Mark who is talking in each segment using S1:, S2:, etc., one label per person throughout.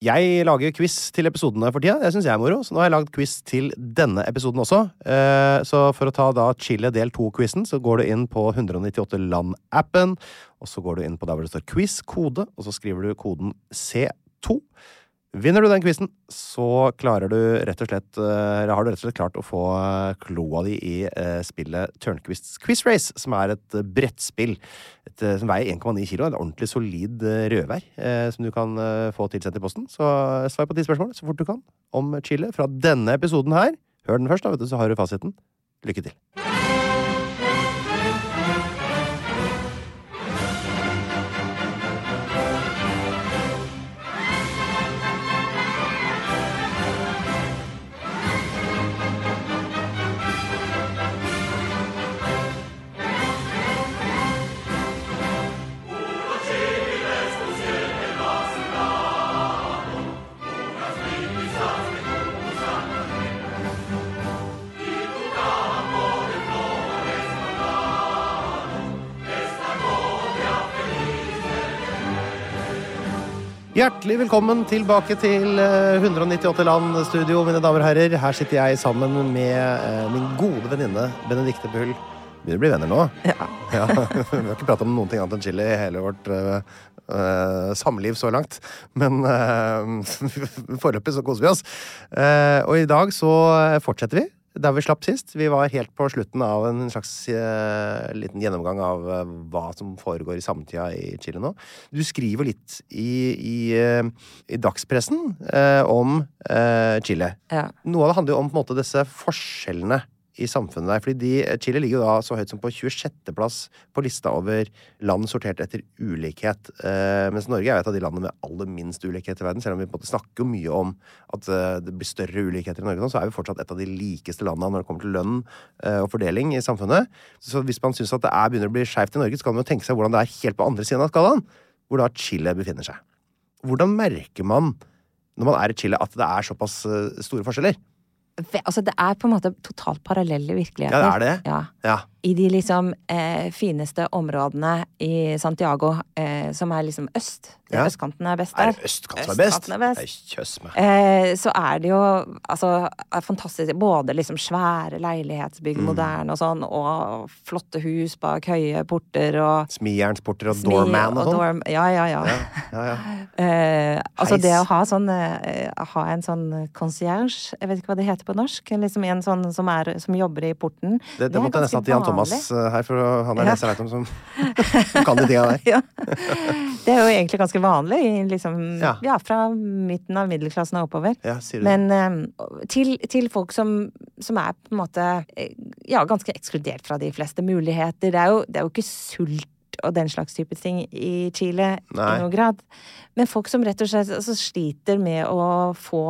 S1: Jeg lager quiz til episodene for tida. Det syns jeg er moro. Så nå har jeg lagd quiz til denne episoden også. Eh, Så for å ta da Chile del 2-quizen, så går du inn på 198 Land-appen. Og så går du inn på der hvor det står quiz, kode, og så skriver du koden C2. Vinner du den quizen, så klarer du rett og slett, eh, eller har du rett og slett klart å få eh, kloa di i eh, spillet Tørnquists Quiz Race, som er et eh, brettspill et, eh, som veier 1,9 kilo. En ordentlig solid eh, rødvær eh, som du kan eh, få tilsendt i posten. Så eh, svar på ti spørsmål så fort du kan om Chile fra denne episoden her. Hør den først, da, vet du, så har du fasiten. Lykke til. Hjertelig velkommen tilbake til eh, 198 land studio, mine damer og herrer. Her sitter jeg sammen med eh, min gode venninne Benedicte Bull. Begynner å bli venner nå. Ja. Vi har ikke pratet om noen ting annet enn chili i hele vårt eh, eh, samliv så langt. Men eh, foreløpig så koser vi oss. Eh, og i dag så fortsetter vi der vi slapp sist. Vi var helt på slutten av en slags eh, liten gjennomgang av eh, hva som foregår i samtida i Chile nå. Du skriver litt i, i, eh, i dagspressen eh, om eh, Chile.
S2: Ja.
S1: Noe av det handler jo om på en måte, disse forskjellene i samfunnet der. fordi de, eh, Chile ligger jo da så høyt som på 26.-plass på lista over land sortert etter ulikhet. Eh, mens Norge er jo et av de landene med aller minst ulikhet i verden. Selv om vi på en måte snakker jo mye om at eh, det blir større ulikheter i Norge nå, så er vi fortsatt et av de likeste landene når det kommer til lønn eh, og fordeling i samfunnet. Så hvis man syns at det er begynner å bli skeivt i Norge, så kan man jo tenke seg hvordan det er helt på andre siden av skalaen, hvor da Chile befinner seg. Hvordan merker man når man er i Chile, at det er såpass eh, store forskjeller?
S2: Ve- Altså, det er på en måte totalt parallelle virkeligheter.
S1: Ja, det er det.
S2: Ja.
S1: Ja.
S2: I de liksom eh, fineste områdene i Santiago, eh, som er liksom øst.
S1: Ja.
S2: Østkanten er best
S1: Er
S2: der.
S1: det østkanten som er best?
S2: Østkanten er best.
S1: Nei, Kjøss meg.
S2: Eh, så er det jo altså, er fantastisk. Både liksom svære leilighetsbygg,
S1: Mm.
S2: moderne og sånn, og flotte hus bak høye porter og
S1: Smijernsporter og
S2: smi-
S1: doorman og sånn.
S2: dorm- Ja, ja, ja.
S1: Ja, ja.
S2: Eh, altså
S1: Heis.
S2: det å ha, sånn, eh, ha en sånn concierge, jeg vet ikke hva det heter på norsk, liksom en sånn som, er, som jobber i porten.
S1: Det, det,
S2: er
S1: måtte jeg nesten
S2: ganske
S1: hatt Jan Thomas
S2: vanlig.
S1: eh, her, for han er
S2: Ja.
S1: den eneste jeg vet om som, som kan de tinga der.
S2: Ja. Det er jo egentlig ganske vanlig, i liksom,
S1: Ja.
S2: ja. fra midten av middelklassen og oppover.
S1: Ja, sier du.
S2: Men eh, til, til folk som, som er på en måte eh, ja, ganske ekskludert fra de fleste muligheter. Det er jo, det er jo ikke sult og den slags type ting i Chile
S1: Nei.
S2: i noen grad. Men folk som rett og slett altså, sliter med å få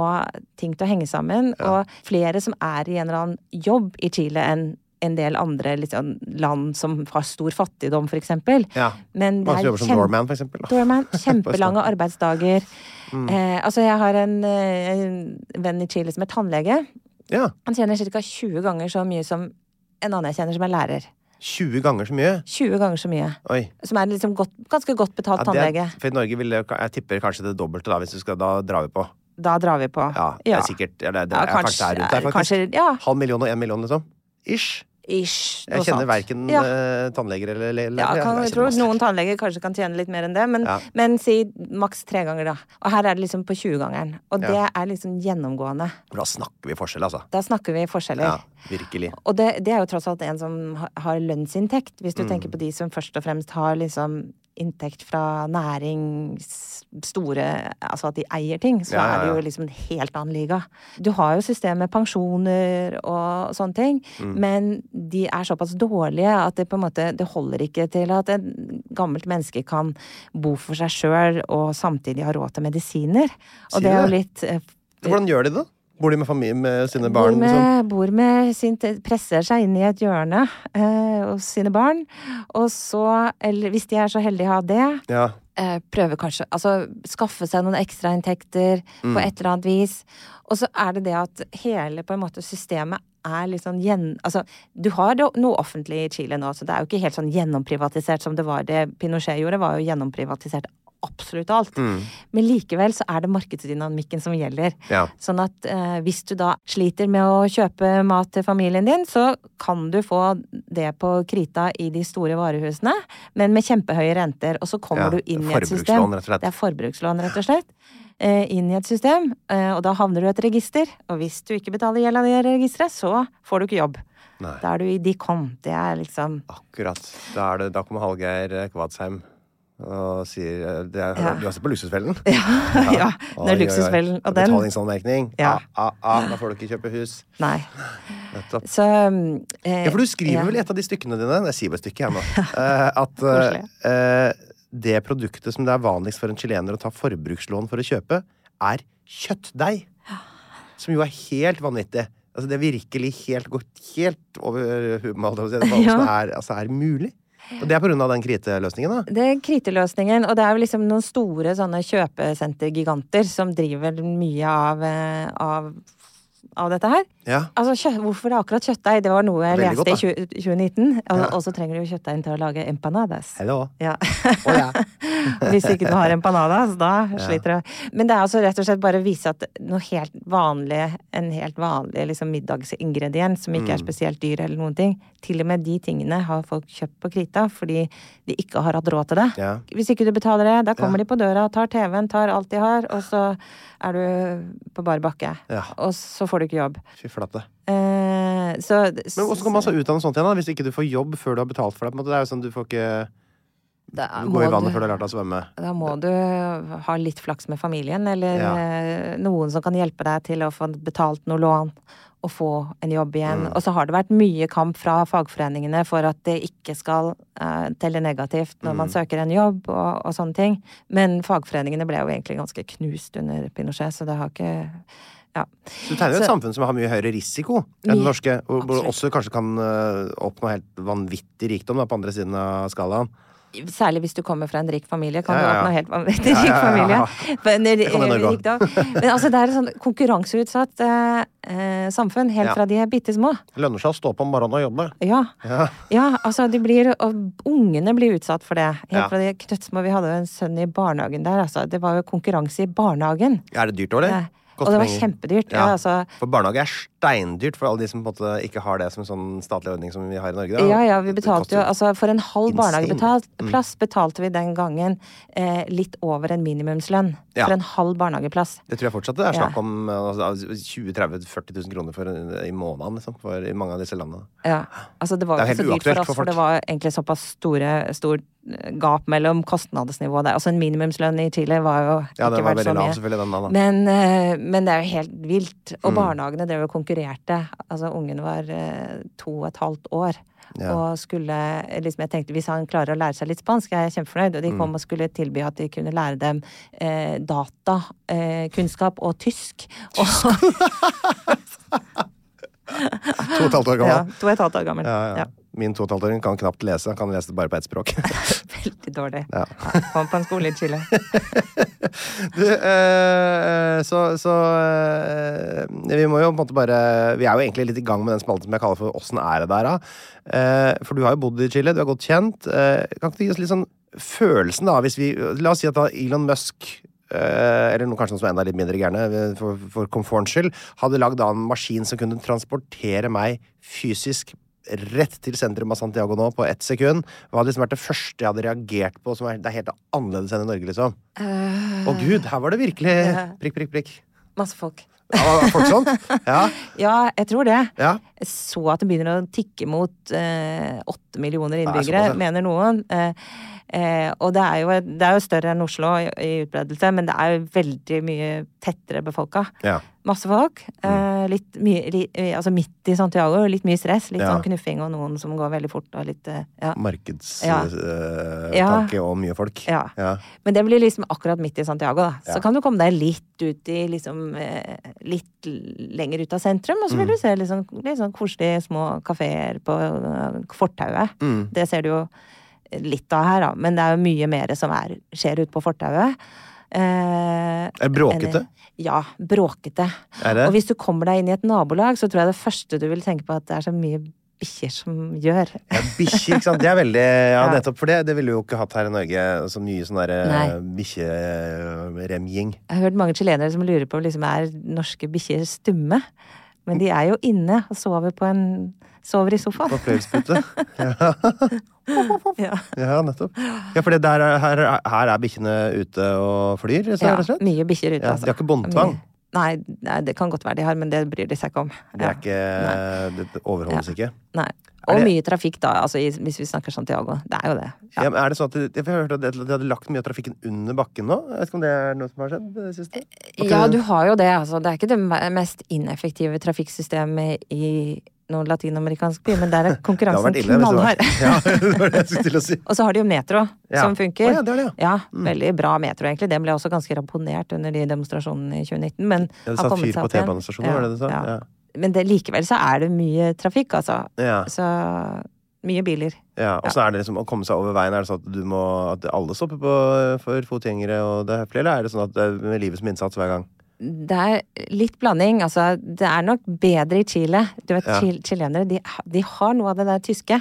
S2: ting til å henge sammen, og flere som er i en eller annen jobb i Chile enn en del andre litt sånn land som har stor fattigdom, for eksempel.
S1: Ja.
S2: Men det
S1: Mange som
S2: er
S1: jobber som
S2: kjempe-
S1: doorman, for eksempel. da.
S2: Doorman. Kjempelange arbeidsdager.
S1: Mm.
S2: Eh, altså, jeg har en, eh, en venn i Chile som er tannlege.
S1: Ja.
S2: Han tjener ca. 20 ganger så mye som en annen jeg kjenner som er lærer.
S1: 20 ganger så mye.
S2: 20 ganger så mye.
S1: Oi.
S2: Som er en liksom godt, ganske godt betalt
S1: Ja, det er,
S2: tannlege.
S1: for I Norge vil det, jeg tipper kanskje det dobbelte, da, hvis du skal da drar vi på.
S2: Da drar vi på.
S1: Ja, det er sikkert ja, det, det
S2: Ja, eh,
S1: er kanskje der rundt der, faktisk.
S2: kanskje- ja.
S1: Halv million og én million, liksom. Ish.
S2: Ish. noe
S1: Jeg kjenner
S2: sånt.
S1: verken
S2: ja.
S1: tannleger eller le-
S2: Ja,
S1: lærere.
S2: kan,
S1: Jeg
S2: jeg
S1: kjenner
S2: tror
S1: masse.
S2: Noen tannleger kanskje kan tjene litt mer enn det, men,
S1: Ja.
S2: men si maks tre ganger, da. Og her er det liksom på 20-gangeren. Og det
S1: Ja.
S2: er liksom gjennomgående.
S1: Da snakker vi forskjell, altså.
S2: Da snakker vi forskjeller.
S1: Ja, virkelig.
S2: Og det, det er jo tross alt en som ha- har lønnsinntekt, hvis
S1: Mm.
S2: du tenker på de som først og fremst har liksom inntekt fra næring, s- store Altså at de eier ting. Så
S1: Ja, ja,
S2: er det
S1: ja.
S2: jo liksom en helt annen liga. Du har jo system med pensjoner og sånne ting,
S1: Mm.
S2: men de er såpass dårlige at det på en måte Det holder ikke til at et gammelt menneske kan bo for seg sjøl og samtidig ha råd til medisiner.
S1: Sier
S2: Og det er
S1: du
S2: jo litt eh,
S1: Så Hvordan gjør de det? Bor de med familie med sine barn?
S2: Bor
S1: Liksom?
S2: med, bor med sin, te- presser seg inn i et hjørne eh, hos sine barn. Og så, eller hvis de er så heldige å ha det,
S1: Ja.
S2: eh, prøve kanskje Altså skaffe seg noen ekstrainntekter på et eller annet vis. Og så er det det at hele på en måte systemet er litt sånn gjen... Altså, du har jo noe offentlig i Chile nå, så det er jo ikke helt sånn gjennomprivatisert som det var det Pinochet gjorde, var jo gjennomprivatisert absolutt alt. Men likevel så er det markedsdynamikken som gjelder.
S1: Ja.
S2: Sånn at eh, hvis du da sliter med å kjøpe mat til familien din, så kan du få det på krita i de store varehusene, men med kjempehøye renter. Og så kommer
S1: Ja,
S2: du inn i
S1: det er
S2: et system.
S1: forbrukslån, rett og slett.
S2: Det er forbrukslån, rett og slett. Eh, inn i et system, eh, og da havner du i et register. Og hvis du ikke betaler gjelda di i registeret, så får du ikke jobb.
S1: Nei.
S2: Da er du i Dicon. Det er liksom
S1: Akkurat. Da, er det, da kommer Hallgeir eh, Kvadsheim og sier eh, det er,
S2: Ja.
S1: Du har sett på Luksusfellen?
S2: Ja, det
S1: Oi, oi,
S2: er
S1: oi.
S2: luksusfellen. Og den
S1: Betalingsanmerkning.
S2: Ja.
S1: Ah, ah, ah, da får du ikke kjøpe hus.
S2: Nei.
S1: Nettopp.
S2: Så eh,
S1: Ja, for du skriver
S2: ja.
S1: vel i et av de stykkene dine Jeg sier bare stykke, jeg nå. eh, At eh, eh, det produktet som det er vanligst for en chilener å ta forbrukslån for å kjøpe, er kjøttdeig. Som jo er helt vanvittig. Altså, det er virkelig helt gått helt over hummet, holdt jeg på å si, hva som er, altså, er mulig. Og det er på grunn av den kriteløsningen, da.
S2: Det er kriteløsningen, og det er jo liksom noen store sånne kjøpesentergiganter som driver mye av, eh, av, av dette her.
S1: Ja.
S2: Altså, kjø Hvorfor det er akkurat kjøttdeig? Det var noe jeg
S1: Veldig
S2: leste
S1: godt,
S2: i tjue- 2019. Og, og så trenger du jo kjøttdeigen til å lage empanadas.
S1: Hello.
S2: Ja.
S1: Å, ja.
S2: Hvis ikke du har empanadas, da sliter du. Men det er altså rett og slett bare å vise at noe helt vanlig, en helt vanlig liksom middagsingrediens som
S1: Mm.
S2: ikke er spesielt dyr eller noen ting, til og med de tingene har folk kjøpt på krita fordi de ikke har hatt råd til det.
S1: Ja.
S2: Hvis ikke du betaler det, da kommer de på døra, tar TV-en, tar alt de har, og så er du på bar bakke.
S1: Ja.
S2: Og så får du ikke jobb.
S1: Fy flate.
S2: Eh, så
S1: Men hvordan kan man så utdanne sånt igjen, da? Hvis ikke du får jobb før du har betalt for det? på en måte? Det er jo sånn, Du får ikke
S2: da
S1: gå
S2: må
S1: i vannet
S2: du-
S1: før du har lært deg å svømme.
S2: Da må du ha litt flaks med familien, eller
S1: Ja.
S2: eh, noen som kan hjelpe deg til å få betalt noe lån og få en jobb igjen.
S1: Mm.
S2: Og så har det vært mye kamp fra fagforeningene for at det ikke skal eh, telle negativt når
S1: Mm.
S2: man søker en jobb og, og sånne ting. Men fagforeningene ble jo egentlig ganske knust under Pinochet, så det har ikke Ja.
S1: Så du tegner jo et
S2: Så-
S1: samfunn som har mye høyere risiko enn det
S2: Mye.
S1: norske, hvor hvor du
S2: Absolutt.
S1: også kanskje kan øh, oppnå helt vanvittig rikdom da, på andre siden av skalaen.
S2: Særlig hvis du kommer fra en rik familie. Kan
S1: Ja, ja, ja.
S2: du oppnå helt vanvittig
S1: Ja, ja,
S2: rik
S1: ja,
S2: familie.
S1: ja.
S2: Men,
S1: Det kan hende det går.
S2: rikdom. Men altså, det er et sånn konkurranseutsatt eh, eh, samfunn helt
S1: Ja.
S2: fra de er bitte små.
S1: Det lønner seg å stå opp om morgenen og jobbe.
S2: Ja.
S1: Ja.
S2: Ja, altså de blir, og ungene blir utsatt for det. Helt
S1: Ja.
S2: fra de knøttsmå. Vi hadde jo en sønn i barnehagen der, altså. Det var jo konkurranse i barnehagen.
S1: Er det dyrt, eller?
S2: Ja.
S1: Koster
S2: Og det var
S1: penger.
S2: kjempedyrt. Ja, altså.
S1: For barnehage er steindyrt for alle de som på en måte ikke har det som en sånn statlig ordning som vi har i Norge. Da.
S2: Ja, ja, vi
S1: Det
S2: betalte jo
S1: koster
S2: altså For en halv
S1: insane. Mm.
S2: barnehageplass betalte vi den gangen eh, litt over en minimumslønn.
S1: Ja.
S2: For en halv barnehageplass.
S1: Det tror jeg fortsatt det er
S2: Ja.
S1: snakk om øh, altså, 20 30 40 000 kroner for, øh, i måneden liksom, for, i mange av disse landene.
S2: Ja, altså det var
S1: Det er
S2: jo ikke så dyrt
S1: helt
S2: for
S1: uaktuelt
S2: oss, for,
S1: for folk.
S2: det var egentlig såpass store, stor eh, gap mellom kostnadsnivået der. Altså en minimumslønn i Chile var jo
S1: Ja,
S2: ikke
S1: den var
S2: verdt så
S1: veldig lav,
S2: mye.
S1: selvfølgelig, den da. Mm. da.
S2: Men, eh, men det er jo helt vilt. Og barnehagene drev og konkurrerte. Altså ungen var eh, to og et halvt år.
S1: Ja.
S2: Og skulle liksom, jeg tenkte hvis han klarer å lære seg litt spansk, jeg er kjempefornøyd.
S1: Mm.
S2: Og de kom og skulle tilby at de kunne lære dem eh, data, eh, kunnskap og tysk. Og,
S1: To og et halvt år
S2: Ja,
S1: gammel.
S2: to og et halvt år gammel.
S1: Ja, ja.
S2: Ja,
S1: Min to og et halvt åring kan knapt lese. Han kan lese det bare på ett språk.
S2: Veldig dårlig.
S1: Ja.
S2: Ja, Kom på en skole i Chile.
S1: Du, eh, så så eh, Vi må jo på en måte bare Vi er jo egentlig litt i gang med den spalten som jeg kaller for Åssen er det der, da? Eh, for du har jo bodd i Chile, du er godt kjent. Eh, kan ikke du gi oss litt sånn følelsen, da, hvis vi La oss si at da Elon Musk eh, eller noe kanskje noen som er enda litt mindre gærne, eh, for, for komfortens skyld, hadde lagd da en maskin som kunne transportere meg fysisk rett til sentrum av Santiago nå på ett sekund. Hva hadde liksom vært det første jeg hadde reagert på, som er, det er helt annerledes enn i Norge, liksom?
S2: Mm.
S1: Å gud, her var det virkelig prikk, prikk, prikk.
S2: Masse folk.
S1: Ja, var folk sånn? Ja,
S2: Ja, jeg tror det.
S1: ja.
S2: Jeg så at det begynner å tikke mot eh, åtte millioner
S1: er
S2: innbyggere,
S1: såpass, ja.
S2: mener noen. Eh, eh, og det er, jo, det er jo større enn Oslo i, i utbredelse, men det er jo veldig mye tettere befolka.
S1: Ja.
S2: Masse folk.
S1: Mm.
S2: Eh, litt mye, li, eh, altså midt i Santiago, litt mye stress. Litt
S1: Ja.
S2: sånn knuffing og noen som går veldig fort og litt eh, ja. Ja.
S1: Markedstanke
S2: Ja.
S1: og mye folk.
S2: Ja.
S1: Ja.
S2: Men det blir liksom akkurat midt i Santiago, da. Så
S1: Ja.
S2: kan du komme deg litt ut i liksom eh, Litt l- lenger ut av sentrum,
S1: Mm.
S2: og så vil du se litt sånn, litt sånn koselige små kafeer på eh, fortauet.
S1: Mm.
S2: Det ser du jo litt av her, da. Men det er jo mye mer som er, skjer ute på fortauet. Eh,
S1: Er det bråkete?
S2: enn- Ja. Bråkete.
S1: Er det?
S2: Og hvis du kommer deg inn i et nabolag, så tror jeg det første du vil tenke på, at det er så mye bikkjer som gjør.
S1: Ja, Bikkje, ikke sant. Det er veldig
S2: Ja.
S1: Ja, nettopp. For det, det ville vi jo ikke hatt her i Norge. Så mye sånn derre
S2: Nei.
S1: bikkjeremjing.
S2: Jeg har hørt mange chilenere som lurer på om liksom, er norske bikkjer stumme. Men de er jo inne og sover, på en, sover i sofaen.
S1: På fløyelspute. Ja.
S2: Ja,
S1: ja, nettopp. Ja, for det der, er- her, er- her er bikkjene ute og flyr, så,
S2: ja
S1: rett og slett?
S2: mye bikkjer ute,
S1: Ja,
S2: altså.
S1: de har ikke båndtvang?
S2: Mye. Nei, nei, det kan godt være de har, men det bryr de seg ikke om.
S1: Det er ikke Det overholdes ikke?
S2: Nei. Og
S1: Er det-
S2: mye trafikk, da, altså, i, hvis vi snakker Santiago. Det er jo det. Ja.
S1: Ja. men er det sånn at de, jeg har hørt at de hadde lagt mye av trafikken under bakken nå? Jeg vet ikke om det er noe som har skjedd? eh, Det siste? At
S2: Ja,
S1: det-
S2: du har jo det, altså. Det er ikke det me- mest ineffektive trafikksystemet i noen latinamerikansk by, men der er
S1: Det har
S2: konkurransen
S1: vært ille. hvis det var-
S2: knallhard.
S1: Ja, det var det jeg skulle til å si.
S2: Og så har de jo metro,
S1: Ja.
S2: som funker.
S1: Å ja, Mm. det er det,
S2: ja. Veldig bra metro, egentlig. Den ble også ganske ramponert under de demonstrasjonene i 2019, men
S1: Ja, det
S2: har
S1: satt
S2: kommet
S1: fyr
S2: seg
S1: på
S2: opp igjen.
S1: T-banestasjonen, var det det du sa? Ja.
S2: Men det, likevel så er det mye trafikk, altså.
S1: Ja.
S2: Så mye biler.
S1: Ja, og så er det liksom å komme seg over veien. Er det sånn at du må At alle stopper på for fotgjengere og det er høflig, eller er det sånn at det er med livet som innsats hver gang?
S2: Det er litt blanding. Altså, det er nok bedre i Chile. Du vet,
S1: Ja.
S2: chil- chilenere, de, ha- de har noe av det der tyske.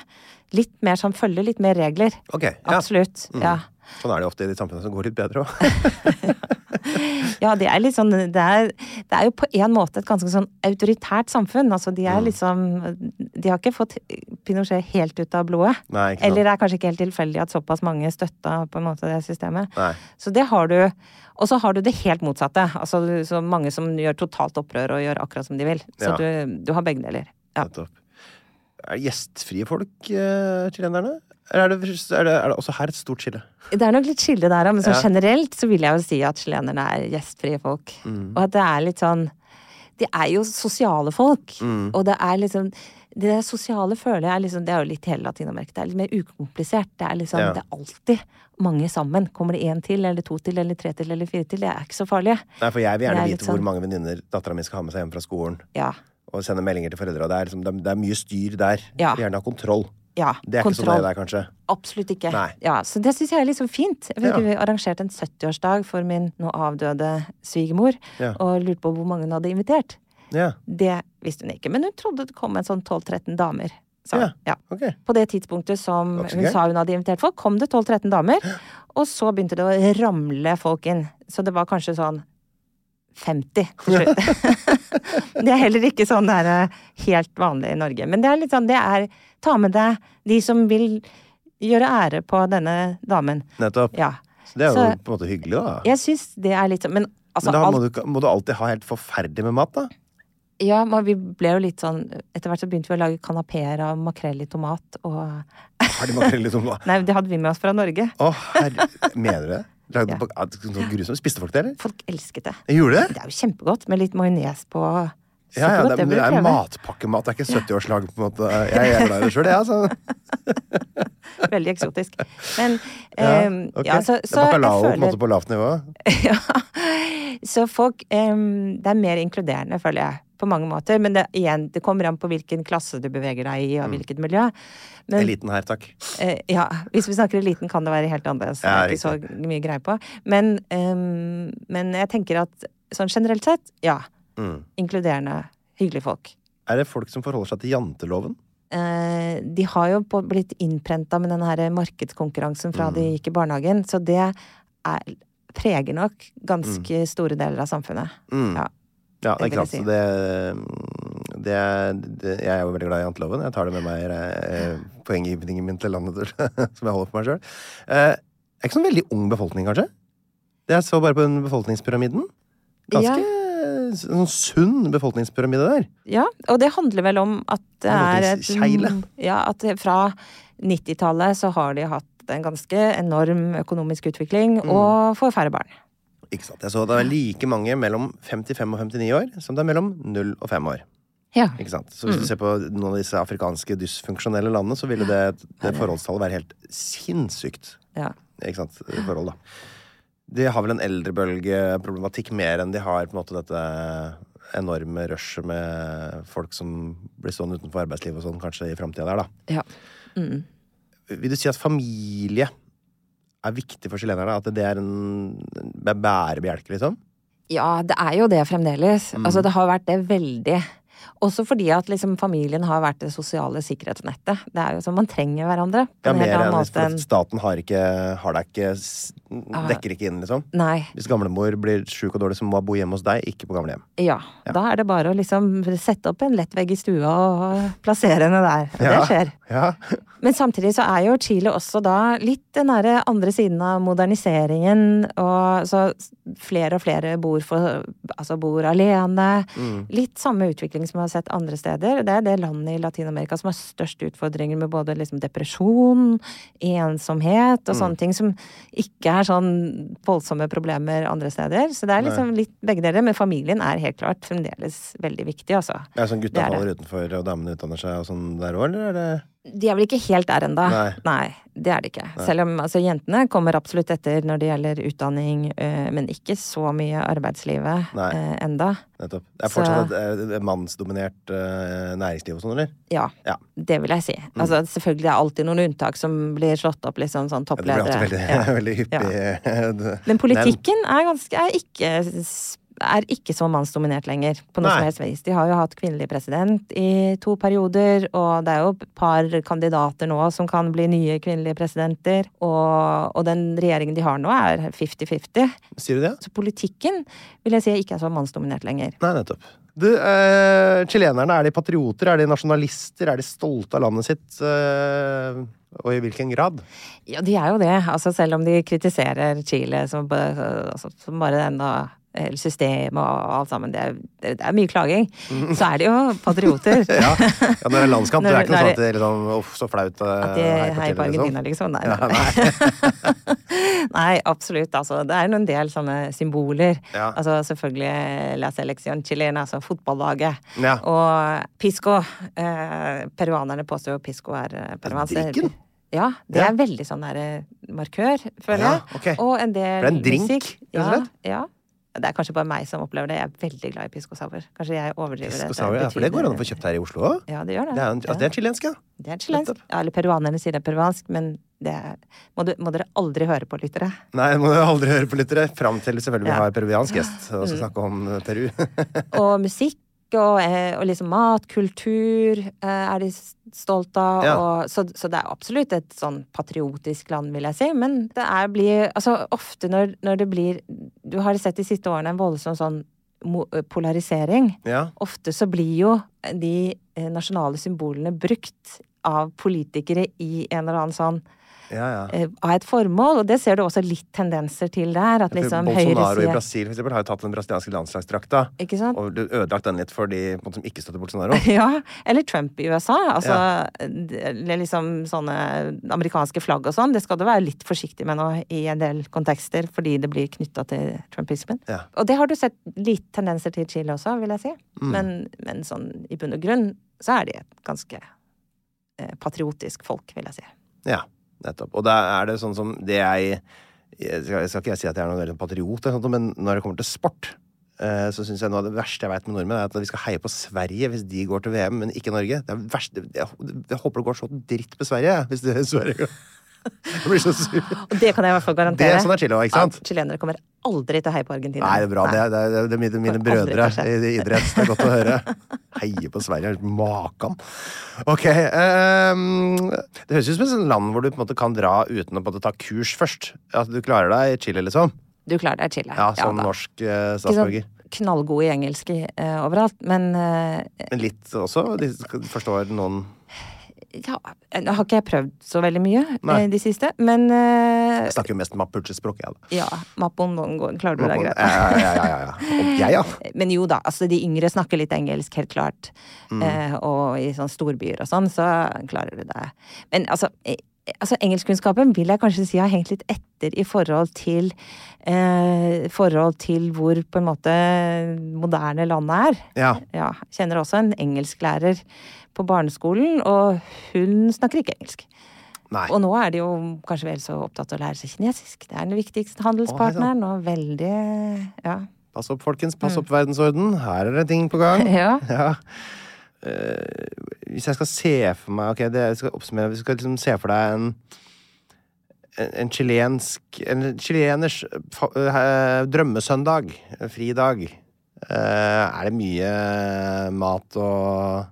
S2: Litt mer som følger litt mer regler.
S1: Ok, ja.
S2: Absolutt. Ja.
S1: Sånn er det jo ofte i de samfunnene som går litt bedre òg.
S2: Ja, det er litt sånn det er, det er jo på en måte et ganske sånn autoritært samfunn. Altså, de er liksom De har ikke fått Pinochet helt ut av blodet.
S1: Nei, ikke sant.
S2: Eller det er kanskje ikke helt tilfeldig at såpass mange støtta på en måte det systemet.
S1: Nei.
S2: Så det har du. Og så har du det helt motsatte. Altså du- så mange som gjør totalt opprør og gjør akkurat som de vil. Så
S1: Ja.
S2: du, du har begge deler. Ja.
S1: Nettopp. Er det gjestfrie folk, eh, chilenerne? Eller er det, er, det, er det også her et stort skille?
S2: Det er nok litt skille der òg, men sånn
S1: Ja.
S2: generelt så vil jeg jo si at chilenerne er gjestfrie folk.
S1: Mm.
S2: Og at det er litt sånn De er jo sosiale folk.
S1: Mm.
S2: Og det er liksom Det der sosiale føler jeg er liksom Det er jo litt hele Latin-Amerika. Det er litt mer ukomplisert. Det er liksom
S1: Ja.
S2: Det er alltid mange sammen. Kommer det én til, eller to til, eller tre til, eller fire til? Det er ikke så farlig.
S1: Nei, for jeg vil
S2: Det er
S1: gjerne
S2: litt
S1: vite hvor
S2: sånn-
S1: mange venninner dattera mi skal ha med seg hjem fra skolen.
S2: Ja.
S1: og sende meldinger til foreldra. Det er, liksom, det er, det er mye styr der.
S2: Ja.
S1: Vil Gjerne ha kontroll.
S2: Ja,
S1: Det er ikke
S2: kontroll.
S1: så nøye der, kanskje.
S2: Absolutt ikke.
S1: Nei.
S2: Ja, så det syns jeg er liksom fint. Jeg vet
S1: Ja.
S2: ikke, Vi arrangerte en 70-årsdag for min nå avdøde svigermor,
S1: Ja.
S2: og lurte på hvor mange hun hadde invitert.
S1: Ja.
S2: Det visste hun ikke, men hun trodde det kom en sånn 12-13 damer. sa
S1: Ja.
S2: hun. Ja.
S1: Ok.
S2: På det tidspunktet som
S1: Det var ikke så
S2: hun
S1: gærent.
S2: sa hun hadde invitert folk, kom det 12-13 damer. Og så begynte det å ramle folk inn. Så det var kanskje sånn 50 til slutt. det er heller ikke sånn der, eh, helt vanlig i Norge. Men det er litt sånn, det er ta med deg de som vil gjøre ære på denne damen.
S1: Nettopp.
S2: Ja.
S1: Så det er jo
S2: Så-
S1: på en måte hyggelig, da.
S2: Jeg syns det er litt sånn Men altså,
S1: Men da
S2: alt
S1: må du, ikke- må du alltid ha helt forferdelig med mat, da.
S2: Ja, men vi ble jo litt sånn Etter hvert så begynte vi å lage kanapeer av makrell i tomat og
S1: Har de makrell liksom da?
S2: Nei, det hadde vi med oss fra Norge.
S1: Å, herre Mener du det? Lagde
S2: Ja.
S1: på- ah, det er sånn grusomt. Spiste folk det, eller?
S2: Folk elsket det.
S1: Jeg gjorde det?
S2: Det er jo kjempegodt med litt majones på. Så
S1: Ja, ja,
S2: godt,
S1: det, er-
S2: bør
S1: det
S2: du
S1: er
S2: prøve.
S1: matpakkemat. Det er ikke 70-årslag, på en måte. Jeg er glad i det sjøl, jeg, altså.
S2: Veldig eksotisk. Men
S1: Ja,
S2: ehm,
S1: ok.
S2: ja, så,
S1: det
S2: så
S1: er
S2: jeg
S1: bacalao på en
S2: føler
S1: måte på lavt nivå.
S2: ja. Så folk ehm, Det er mer inkluderende, føler jeg, på mange måter. Men det, igjen, det kommer an på hvilken klasse du beveger deg i, og
S1: Mm.
S2: hvilket miljø. Men,
S1: Eliten her, takk.
S2: Eh, ja, hvis vi snakker eliten, kan det være helt annerledes.
S1: Ja,
S2: det er ikke så mye greie på. Men, ehm, men jeg tenker at sånn generelt sett, ja. Inkluderende, hyggelige folk.
S1: Er det folk som forholder seg til janteloven?
S2: Eh, de har jo på- blitt innprenta med den her markedskonkurransen fra de gikk i barnehagen, så det er, preger nok ganske store deler av samfunnet. Ja.
S1: Mm. Ja, det er
S2: Det
S1: ikke
S2: vil
S1: sant.
S2: jeg
S1: så Det, det, det, jeg er jo veldig glad i janteloven. Jeg tar det med meg eh, poenggivningen min til landet til, som jeg holder for meg sjøl. Eh, det er ikke sånn veldig ung befolkning, kanskje? Det jeg så bare på den befolkningspyramiden. Ganske eh, sånn sunn befolkningspyramide der.
S2: Ja, og det handler vel om at det
S1: Det
S2: er
S1: er noe til kjeile.
S2: et Ja, at det- fra 90-tallet så har de hatt en ganske enorm økonomisk utvikling,
S1: Mm.
S2: og får færre barn.
S1: Ikke sant? Jeg så det er like mange mellom 55 og 59 år som det er mellom 0 og 5 år.
S2: Ja.
S1: Ikke sant? Så hvis
S2: Mm.
S1: du ser på noen av disse afrikanske dysfunksjonelle landene, så ville det, det forholdstallet være helt sinnssykt.
S2: ja.
S1: Ikke sant? Forhold, da. De har vel en eldrebølgeproblematikk mer enn de har på en måte dette enorme rushet med folk som blir stående utenfor arbeidslivet og sånn, kanskje i framtida der, da.
S2: ja.
S1: Vil du si at familie er viktig for chilenerne? At det er en det er bærebjelke, liksom?
S2: Ja, det er jo det fremdeles.
S1: Mm.
S2: Altså, det har vært det veldig. Også fordi at liksom, familien har vært det sosiale sikkerhetsnettet. Det er jo sånn Man trenger hverandre på
S1: Ja,
S2: en
S1: mer
S2: helt annen
S1: enn
S2: måte
S1: for
S2: enn Ah.
S1: staten har ikke Har deg ikke s- Dekker ikke inn, liksom.
S2: Nei.
S1: Hvis gamlemor blir sjuk og dårlig, så må hun bo hjemme hos deg, ikke på gamlehjem.
S2: Ja. Da er det bare å liksom sette opp en lettvegg i stua og plassere henne der.
S1: Ja.
S2: Det skjer.
S1: Ja.
S2: Men samtidig så er jo Chile også da litt den derre andre siden av moderniseringen, og så flere og flere bor, for, altså bor alene. Litt samme utvikling som vi har sett andre steder. Det er det landet i Latin-Amerika som har størst utfordringer med både liksom depresjon, ensomhet og sånne ting, som ikke er sånn voldsomme problemer andre steder. Så det er liksom litt begge deler, men familien er helt klart fremdeles veldig viktig, altså.
S1: Er det sånn
S2: Det
S1: gutta
S2: er det.
S1: faller utenfor, og damene utdanner seg og sånn der òg, eller er det
S2: De er vel ikke helt der ennå.
S1: Nei.
S2: det er de ikke. Selv om altså, jentene kommer absolutt etter når det gjelder utdanning, eh, men ikke så mye arbeidslivet
S1: Nei.
S2: eh, enda.
S1: Nettopp. Det er
S2: Så-
S1: fortsatt et, eh, mannsdominert eh, næringsliv og sånn, eller?
S2: Ja,
S1: Ja.
S2: det vil jeg si.
S1: Mm.
S2: Altså, selvfølgelig er det alltid noen unntak som blir slått opp, liksom sånn
S1: Ja, Det blir alltid veldig,
S2: toppledere. Ja.
S1: veldig hyppig. eh, det-
S2: Men politikken er ganske er ikke, er ikke så mannsdominert lenger, på noe
S1: Nei.
S2: som helst vis. De har jo hatt kvinnelig president i to perioder, og det er jo et par kandidater nå som kan bli nye kvinnelige presidenter. Og, og den regjeringen de har nå, er 50-50.
S1: Men, sier du det?
S2: Så politikken vil jeg si ikke er så mannsdominert lenger.
S1: Nei, nettopp. Du, eh, chilenerne, er de patrioter? Er de nasjonalister? Er de stolte av landet sitt? Eh, og i hvilken grad?
S2: Ja, de er jo det. Altså, selv om de kritiserer Chile som, ba- altså, som bare denne hele systemet og alt sammen, det er, det er mye klaging, så er de jo patrioter.
S1: Ja, ja når det er landskamp, det er
S2: Når-
S1: ikke noe
S2: når
S1: sånn at det er liksom, uff, så flaut. eh,
S2: At de
S1: heier på
S2: heier på
S1: Chile, liksom.
S2: Argentina, liksom. Nei, nei. nei absolutt. Altså, det er jo en del sånne symboler.
S1: Ja.
S2: Altså, selvfølgelig La Selección Chilena, altså fotballaget.
S1: Ja.
S2: Og Pisco. Eh, peruanerne påstår jo Pisco er eh, peruansk.
S1: drikken?
S2: Ja, det
S1: Ja.
S2: er veldig sånn der, eh, markør, føler
S1: Ja,
S2: jeg.
S1: ok.
S2: Og en del
S1: For det er en drink,
S2: musikk.
S1: rett og
S2: Ja,
S1: slett?
S2: ja. Det er kanskje bare meg som opplever det. Jeg er veldig glad i pisco sour. Kanskje jeg overdriver
S1: Fisk og
S2: det.
S1: sauer, ja, for det går an å få kjøpt her i Oslo òg.
S2: Ja, det gjør det.
S1: Det er, en- altså, det er chilensk, ja.
S2: Det er chilensk. Ja, eller peruanerne sier det er peruansk, men det er, må, du, må dere aldri høre på, lyttere.
S1: Nei, må du aldri høre på lyttere. Fram til selvfølgelig vi
S2: Ja. Mm.
S1: har peruviansk gjest og skal snakke om eh, Peru.
S2: Og musikk og, eh, og liksom mat, kultur eh, er de s- stolt av.
S1: Ja.
S2: Og, så, så det er absolutt et sånn patriotisk land, vil jeg si. Men det er blir Altså ofte når, når det blir Du har sett de siste årene en voldsom sånn mo- eh, polarisering.
S1: ja.
S2: Ofte så blir jo de eh, nasjonale symbolene brukt av politikere i en eller annen sånn
S1: Ja, ja.
S2: eh, av et formål, og det ser du også litt tendenser til der. At
S1: For
S2: liksom
S1: Bolsonaro i
S2: høyresiden
S1: Brasil for eksempel, har jo tatt den brasilianske landslagsdrakta
S2: Ikke sant?
S1: og du- ødelagt den litt for de på en måte, som ikke støtter Bolsonaro.
S2: Ja, eller Trump i USA. Altså, det- eller liksom sånne amerikanske flagg og sånn. Det skal du være litt forsiktig med nå i en del kontekster, fordi det blir knytta til trumpismen.
S1: Ja.
S2: Og det har du sett litt tendenser til i Chile også, vil jeg si.
S1: Mm.
S2: Men, men sånn i bunn og grunn så er de et ganske eh, patriotisk folk, vil jeg si.
S1: Ja, nettopp. Og da er det sånn som det jeg jeg skal, skal ikke jeg si at jeg er noen veldig patriot, eller noe sånt, men når det kommer til sport, eh, så syns jeg noe av det verste jeg veit med nordmenn, er at vi skal heie på Sverige hvis de går til VM, men ikke Norge. Det er det verste. Jeg, jeg håper det går så dritt med Sverige, jeg, hvis det Sverige går. Jeg blir så sur.
S2: Og det kan jeg i hvert fall garantere.
S1: Det er sånn det er Chile også, ikke sant?
S2: At chilenere kommer aldri til å heie på Argentina.
S1: Nei, det er bra.
S2: Nei.
S1: Det er, det er, det er mine, mine
S2: Kommer aldri til
S1: brødre
S2: å skje.
S1: i, i idrett. Det er godt å høre. Heie på Sverige. Makan. Ok. ehm, det høres ut som et sånt land hvor du på en måte kan dra uten å på en måte ta kurs først. At du klarer deg i Chile, liksom.
S2: Du klarer deg i Chile.
S1: Ja, Som
S2: da.
S1: norsk eh,
S2: Ikke sånn
S1: statsborger.
S2: knallgod i engelsk eh, overalt, men eh,
S1: Men litt også. De skal- forstår noen
S2: ja, eh, nå har ikke jeg prøvd så veldig mye
S1: Nei.
S2: eh, de siste, men eh,
S1: Jeg snakker jo mest mapuche-språk, jeg. da.
S2: ja, Mapon Mongo, klarer du deg
S1: Ja,
S2: greit?
S1: ja, ja. ja, ja. Og jeg, ja.
S2: Men jo da, altså de yngre snakker litt engelsk, helt klart.
S1: Mm.
S2: Eh, og i sånne storbyer og sånn, så klarer du det. Men altså, eh, altså engelskkunnskapen vil jeg kanskje si har hengt litt etter i forhold til eh, Forhold til hvor på en måte moderne landet er.
S1: Ja.
S2: Ja, kjenner også en engelsklærer på barneskolen, og hun snakker ikke engelsk.
S1: Nei.
S2: Og nå er de jo kanskje vel så opptatt av å lære seg kinesisk. Det er den viktigste handelspartneren, og veldig Ja.
S1: Pass opp, folkens. Pass
S2: Mm.
S1: opp verdensorden. Her er det ting på gang.
S2: ja.
S1: Ja. Eh, hvis jeg skal se for meg Ok, det jeg skal oppsummere. Hvis du skal liksom se for deg en en en chilensk En chileners fa- eh, drømmesøndag. eh, Fridag. Eh, er det mye mat og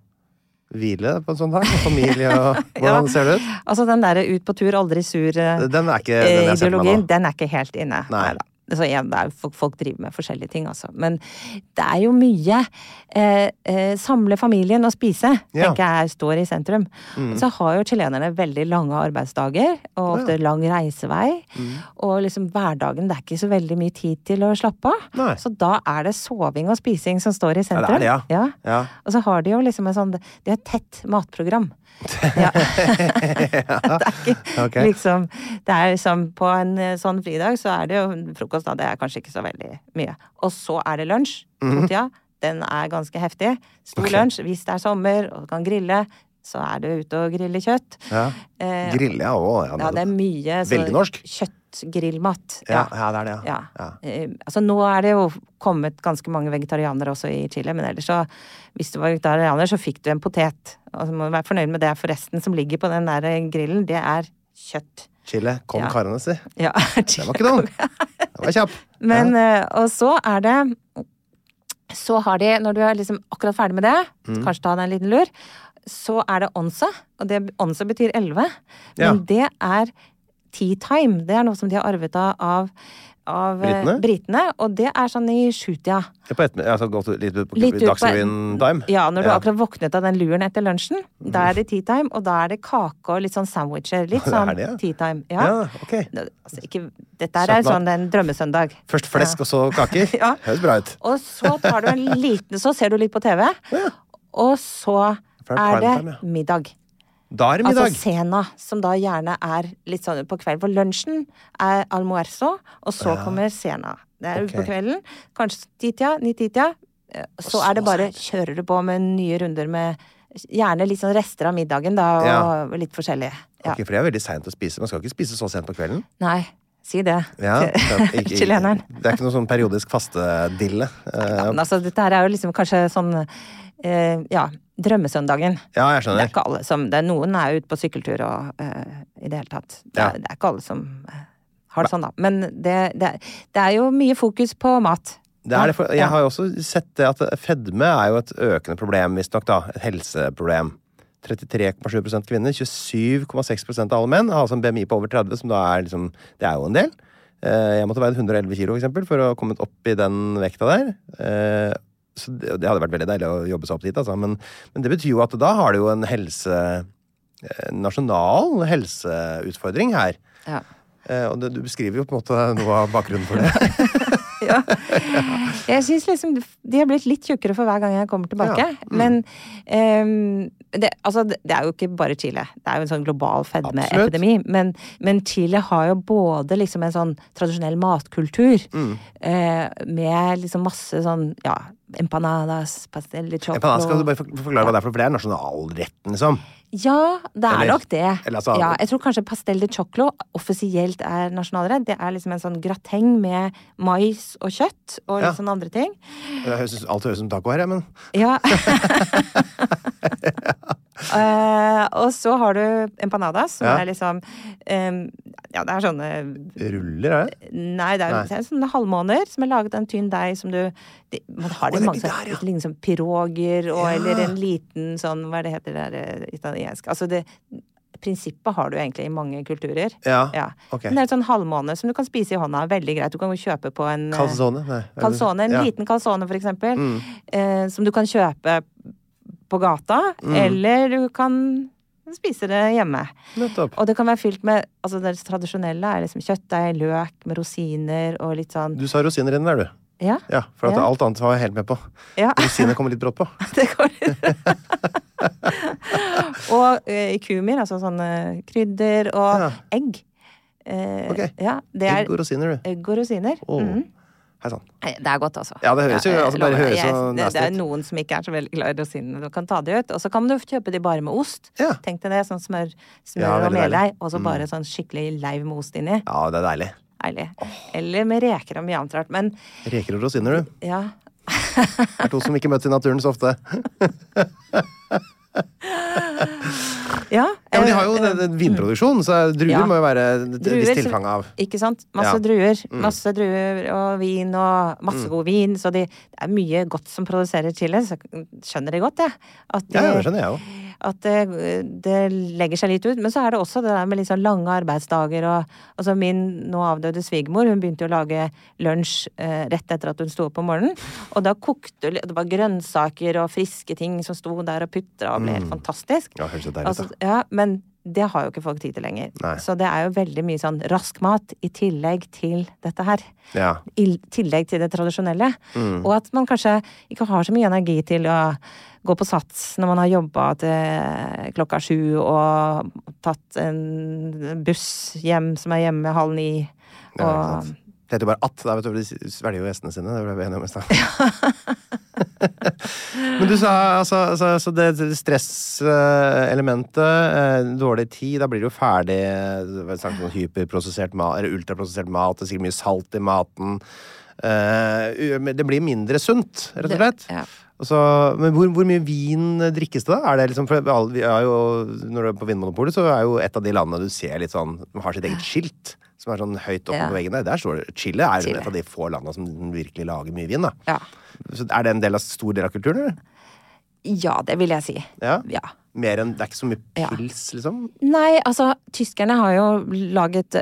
S1: hvile på en sånn dag? Og Familie og Hvordan ser det ut?
S2: Altså den derre ut på tur, aldri sur eh,
S1: Den er ikke den
S2: eh,
S1: jeg ser for meg
S2: ideologien,
S1: nå.
S2: den er ikke helt inne.
S1: Nei.
S2: Neida. Så igjen, det er, jo folk, folk driver med forskjellige ting, altså. Men det er jo mye. Eh, eh, samle familien og spise,
S1: Ja. Mm.
S2: tenker jeg står i sentrum. Så har jo chilenerne veldig lange arbeidsdager, og ofte lang reisevei.
S1: Mm.
S2: Og liksom hverdagen, det er ikke så veldig mye tid til å slappe av.
S1: Nei.
S2: Så da er det soving og spising som står i
S1: Ja,
S2: sentrum.
S1: det er det, ja. ja.
S2: Og så har de jo liksom en sånn De har et tett matprogram. Ja. det er ikke
S1: Ok.
S2: liksom Det er liksom På en eh, sånn fridag så er det jo frokost, da. Det er kanskje ikke så veldig mye. Og så er det lunsj.
S1: Mhm.
S2: Totida. Den er ganske heftig. Stor lunsj hvis det er sommer og du kan grille. Så er du ute og griller kjøtt.
S1: ja.
S2: Eh,
S1: Grille, ja. Å, ja,
S2: ja, det er mye så,
S1: Veldig norsk.
S2: Kjøttgrillmat.
S1: Ja, ja, det er det, ja.
S2: Ja.
S1: Ja.
S2: Eh, altså, nå er det jo kommet ganske mange vegetarianere også i Chile, men ellers så Hvis du var vegetarianer, så fikk du en potet. Altså, må du være fornøyd med det, for resten som ligger på den der grillen, det er kjøtt.
S1: Chile con
S2: Ja.
S1: carne, si.
S2: Ja,
S1: Det var ikke dum! Det var kjapp.
S2: Men, eh, og så er det Så har de, når du er liksom akkurat ferdig med det,
S1: Mm.
S2: kanskje ta deg en liten lur, så er det onse. Og det, onse betyr elleve.
S1: Ja.
S2: Men det er tea time. Det er noe som de har arvet av, av, av eh,
S1: Britene?
S2: britene. Og det er sånn i sjutida.
S1: Ja, På ettermiddag, altså gått litt ut på
S2: Litt ut på-
S1: Dagsrevyen-time?
S2: Ja, når du akkurat våknet av den luren etter lunsjen. Da er det tea time, og da er det kake og litt sånn sandwicher. Litt
S1: Det er
S2: sånn
S1: det, Mm. ja.
S2: tea time.
S1: ja.
S2: Ja.
S1: ok.
S2: Nå, Altså, ikke, dette her er
S1: Søndag.
S2: sånn en drømmesøndag.
S1: Først flesk, og så kaker?
S2: Ja.
S1: Høres bra ut.
S2: Og så tar du en liten Så ser du litt på TV, og så
S1: For det er
S2: er det
S1: primetime, ja.
S2: middag.
S1: Da er det
S2: Altså
S1: middag.
S2: cena, som da gjerne er litt sånn på kvelden. For lunsjen er almuerzo, og så kommer cena. Det er
S1: Ok.
S2: på kvelden. Kanskje titida, nititida. Eh, Så er det bare kjører du på med nye runder med gjerne litt sånn rester av middagen, da, og litt forskjellige. Ja.
S1: Ok, for det er veldig seint å spise. Man skal ikke spise så sent på kvelden.
S2: Nei, si det.
S1: Ja, så ikke- ikke-
S2: Chileneren.
S1: Det er ikke noe sånn periodisk fastedille. Eh,
S2: Men altså, dette her er jo liksom kanskje sånn eh, Ja, drømmesøndagen.
S1: Ja,
S2: Det er
S1: jeg skjønner.
S2: ikke alle som det er Noen er ute på sykkeltur og eh, i det hele tatt. Det
S1: Ja.
S2: er, det er ikke alle som eh, har det sånn, da. Men det, det, er- det er jo mye fokus på mat.
S1: Det er det for, jeg
S2: Ja.
S1: har jo også sett det at fedme er jo et økende problem, visstnok. da. Et helseproblem. 33,7 kvinner, 27,6 av alle menn har altså en BMI på over 30, som da er liksom Det er jo en del. Eh, Jeg måtte veie 111 kilo, for eksempel, for å ha kommet opp i den vekta der. Eh, Så det, det hadde vært veldig deilig å jobbe seg opp dit, altså. Men, men det betyr jo at da har du jo en helse... En nasjonal helseutfordring her.
S2: Ja.
S1: Eh, Og det, du beskriver jo på en måte noe av bakgrunnen for det.
S2: Jeg syns liksom de har blitt litt tjukkere for hver gang jeg kommer tilbake.
S1: Ja, Mm.
S2: Men ehm, det, altså, det det er jo ikke bare Chile. Det er jo en sånn global fedmeepidemi. Men, men Chile har jo både liksom en sånn tradisjonell matkultur
S1: Mm.
S2: eh, med liksom masse sånn ja, empanadas, pastel de choclo
S1: Empanadas, Skal du bare for- forklare hva det er for, for det er nasjonalretten, liksom.
S2: Ja, det er
S1: Eller-
S2: nok det.
S1: eller altså-
S2: ja, jeg tror kanskje pastel de choclo offisielt er nasjonalrett. Det er liksom en sånn grateng med mais og kjøtt og litt
S1: Ja.
S2: sånne andre ting.
S1: Jeg synes alt høres ut som taco her, jeg, men
S2: Ja. Eh, og så har du empanadas, som
S1: Ja.
S2: er liksom em, Ja, det er sånne
S1: ruller, er det?
S2: Nei, det er,
S1: Nei.
S2: det er sånne halvmåner som er laget av en tynn deig som du de, Man har det
S1: det er
S2: i mange
S1: de
S2: sånne
S1: der, ja.
S2: Det ligner som piroger og
S1: Ja.
S2: eller en liten sånn Hva er det heter det der eh, italiensk Altså det Prinsippet har du egentlig i mange kulturer.
S1: Ja,
S2: ja.
S1: ok.
S2: Men det er en sånn halvmåne som du kan spise i hånda. Veldig greit. Du kan jo kjøpe på en eh,
S1: Calzone? Nei.
S2: Calzone, en
S1: Ja. Mm.
S2: liten calzone for eksempel, eh, som du kan kjøpe på gata,
S1: Mm.
S2: eller du kan spise det hjemme.
S1: Nettopp.
S2: Og det kan være fylt med altså det tradisjonelle er liksom kjøttdeig, løk med rosiner og litt sånn
S1: Du sa rosiner inni der, du.
S2: Ja.
S1: Ja, for at
S2: Ja.
S1: alt annet var jeg helt med på.
S2: Ja.
S1: Rosiner kommer litt brått på.
S2: Det går litt Og eh, kumir, altså sånne krydder, og
S1: Ja.
S2: egg. Eh,
S1: Ok.
S2: Ja, det er
S1: Egg og rosiner, du.
S2: egg og rosiner.
S1: Åh.
S2: Mhm.
S1: Hei sann.
S2: Nei, Det er godt, altså.
S1: Ja, det høres jo-
S2: jeg
S1: altså, bare
S2: lover deg.
S1: høres
S2: Jeg-
S1: så
S2: det, det
S1: nasty
S2: er
S1: ut.
S2: noen som ikke er så veldig glad i rosinene. Du kan ta de ut, og så kan du kjøpe de bare med ost.
S1: Ja.
S2: Tenk deg det, sånn smør, smør
S1: Ja,
S2: og
S1: veldig
S2: meldeig,
S1: deilig. Mm.
S2: og så bare sånn skikkelig leiv med ost inni.
S1: Ja, det er deilig.
S2: Deilig. Eller med reker og mye annet rart. Men
S1: Reker og rosiner, du.
S2: ja,
S1: Er to som ikke møtes i naturen så ofte.
S2: ja.
S1: Ja, men De
S2: eh,
S1: har jo
S2: eh,
S1: en- en vinproduksjon, så druer
S2: Ja.
S1: må jo være et
S2: eh, druer,
S1: visst
S2: så-
S1: tilfang av.
S2: Ikke sant? Masse
S1: Ja. Mm.
S2: druer. Masse druer og vin og masse god vin. Så de, det er mye godt som produserer chili. Så skjønner de godt, det. At
S1: Ja, ja,
S2: de-
S1: det skjønner jeg jo.
S2: at det, det legger seg litt ut. Men så er det også det der med litt sånn lange arbeidsdager og Altså min nå avdøde svigermor, hun begynte jo å lage lunsj eh, rett etter at hun sto opp om morgenen. Og da kokte li- Det var grønnsaker og friske ting som sto der og putra og ble helt fantastisk.
S1: Mm. Ja, høres så deilig ut,
S2: Altså, ja, men det har jo ikke folk tid til lenger.
S1: Nei.
S2: Så det er jo veldig mye sånn rask mat i tillegg til dette her.
S1: Ja.
S2: I tillegg til det tradisjonelle.
S1: Mm.
S2: Og at man kanskje ikke har så mye energi til å gå på sats når man har jobba til klokka sju og tatt en buss hjem som er hjemme halv ni. Og,
S1: Ja, ikke sant. Det heter jo bare at. Da vet du, for de svelger jo gjestene sine. Det ble vi enige om i stad. Men du sa altså, altså, altså det det stresselementet, eh, dårlig tid, da blir det jo ferdig det var snakk om hyperprosessert mat, eller ultraprosessert mat, det er sikkert mye salt i maten. Eh, u- men det blir mindre sunt, rett og slett.
S2: Det- ja.
S1: Og så, men hvor, hvor mye vin eh, drikkes det, da? Er det liksom, for alle, vi er jo, når du er på Vinmonopolet, så er jo et av de landene du ser litt sånn De har sitt eget skilt, som er sånn høyt oppe
S2: Ja.
S1: på veggen der. Der står det Chile er
S2: Chile.
S1: et av de få landene som virkelig lager mye vin, da.
S2: ja.
S1: Så er det en del av, stor del av kulturen, eller?
S2: ja, det vil jeg si.
S1: Ja.
S2: Ja.
S1: Mer enn, det er ikke så mye
S2: Ja.
S1: pils, liksom?
S2: Nei, altså, tyskerne har jo laget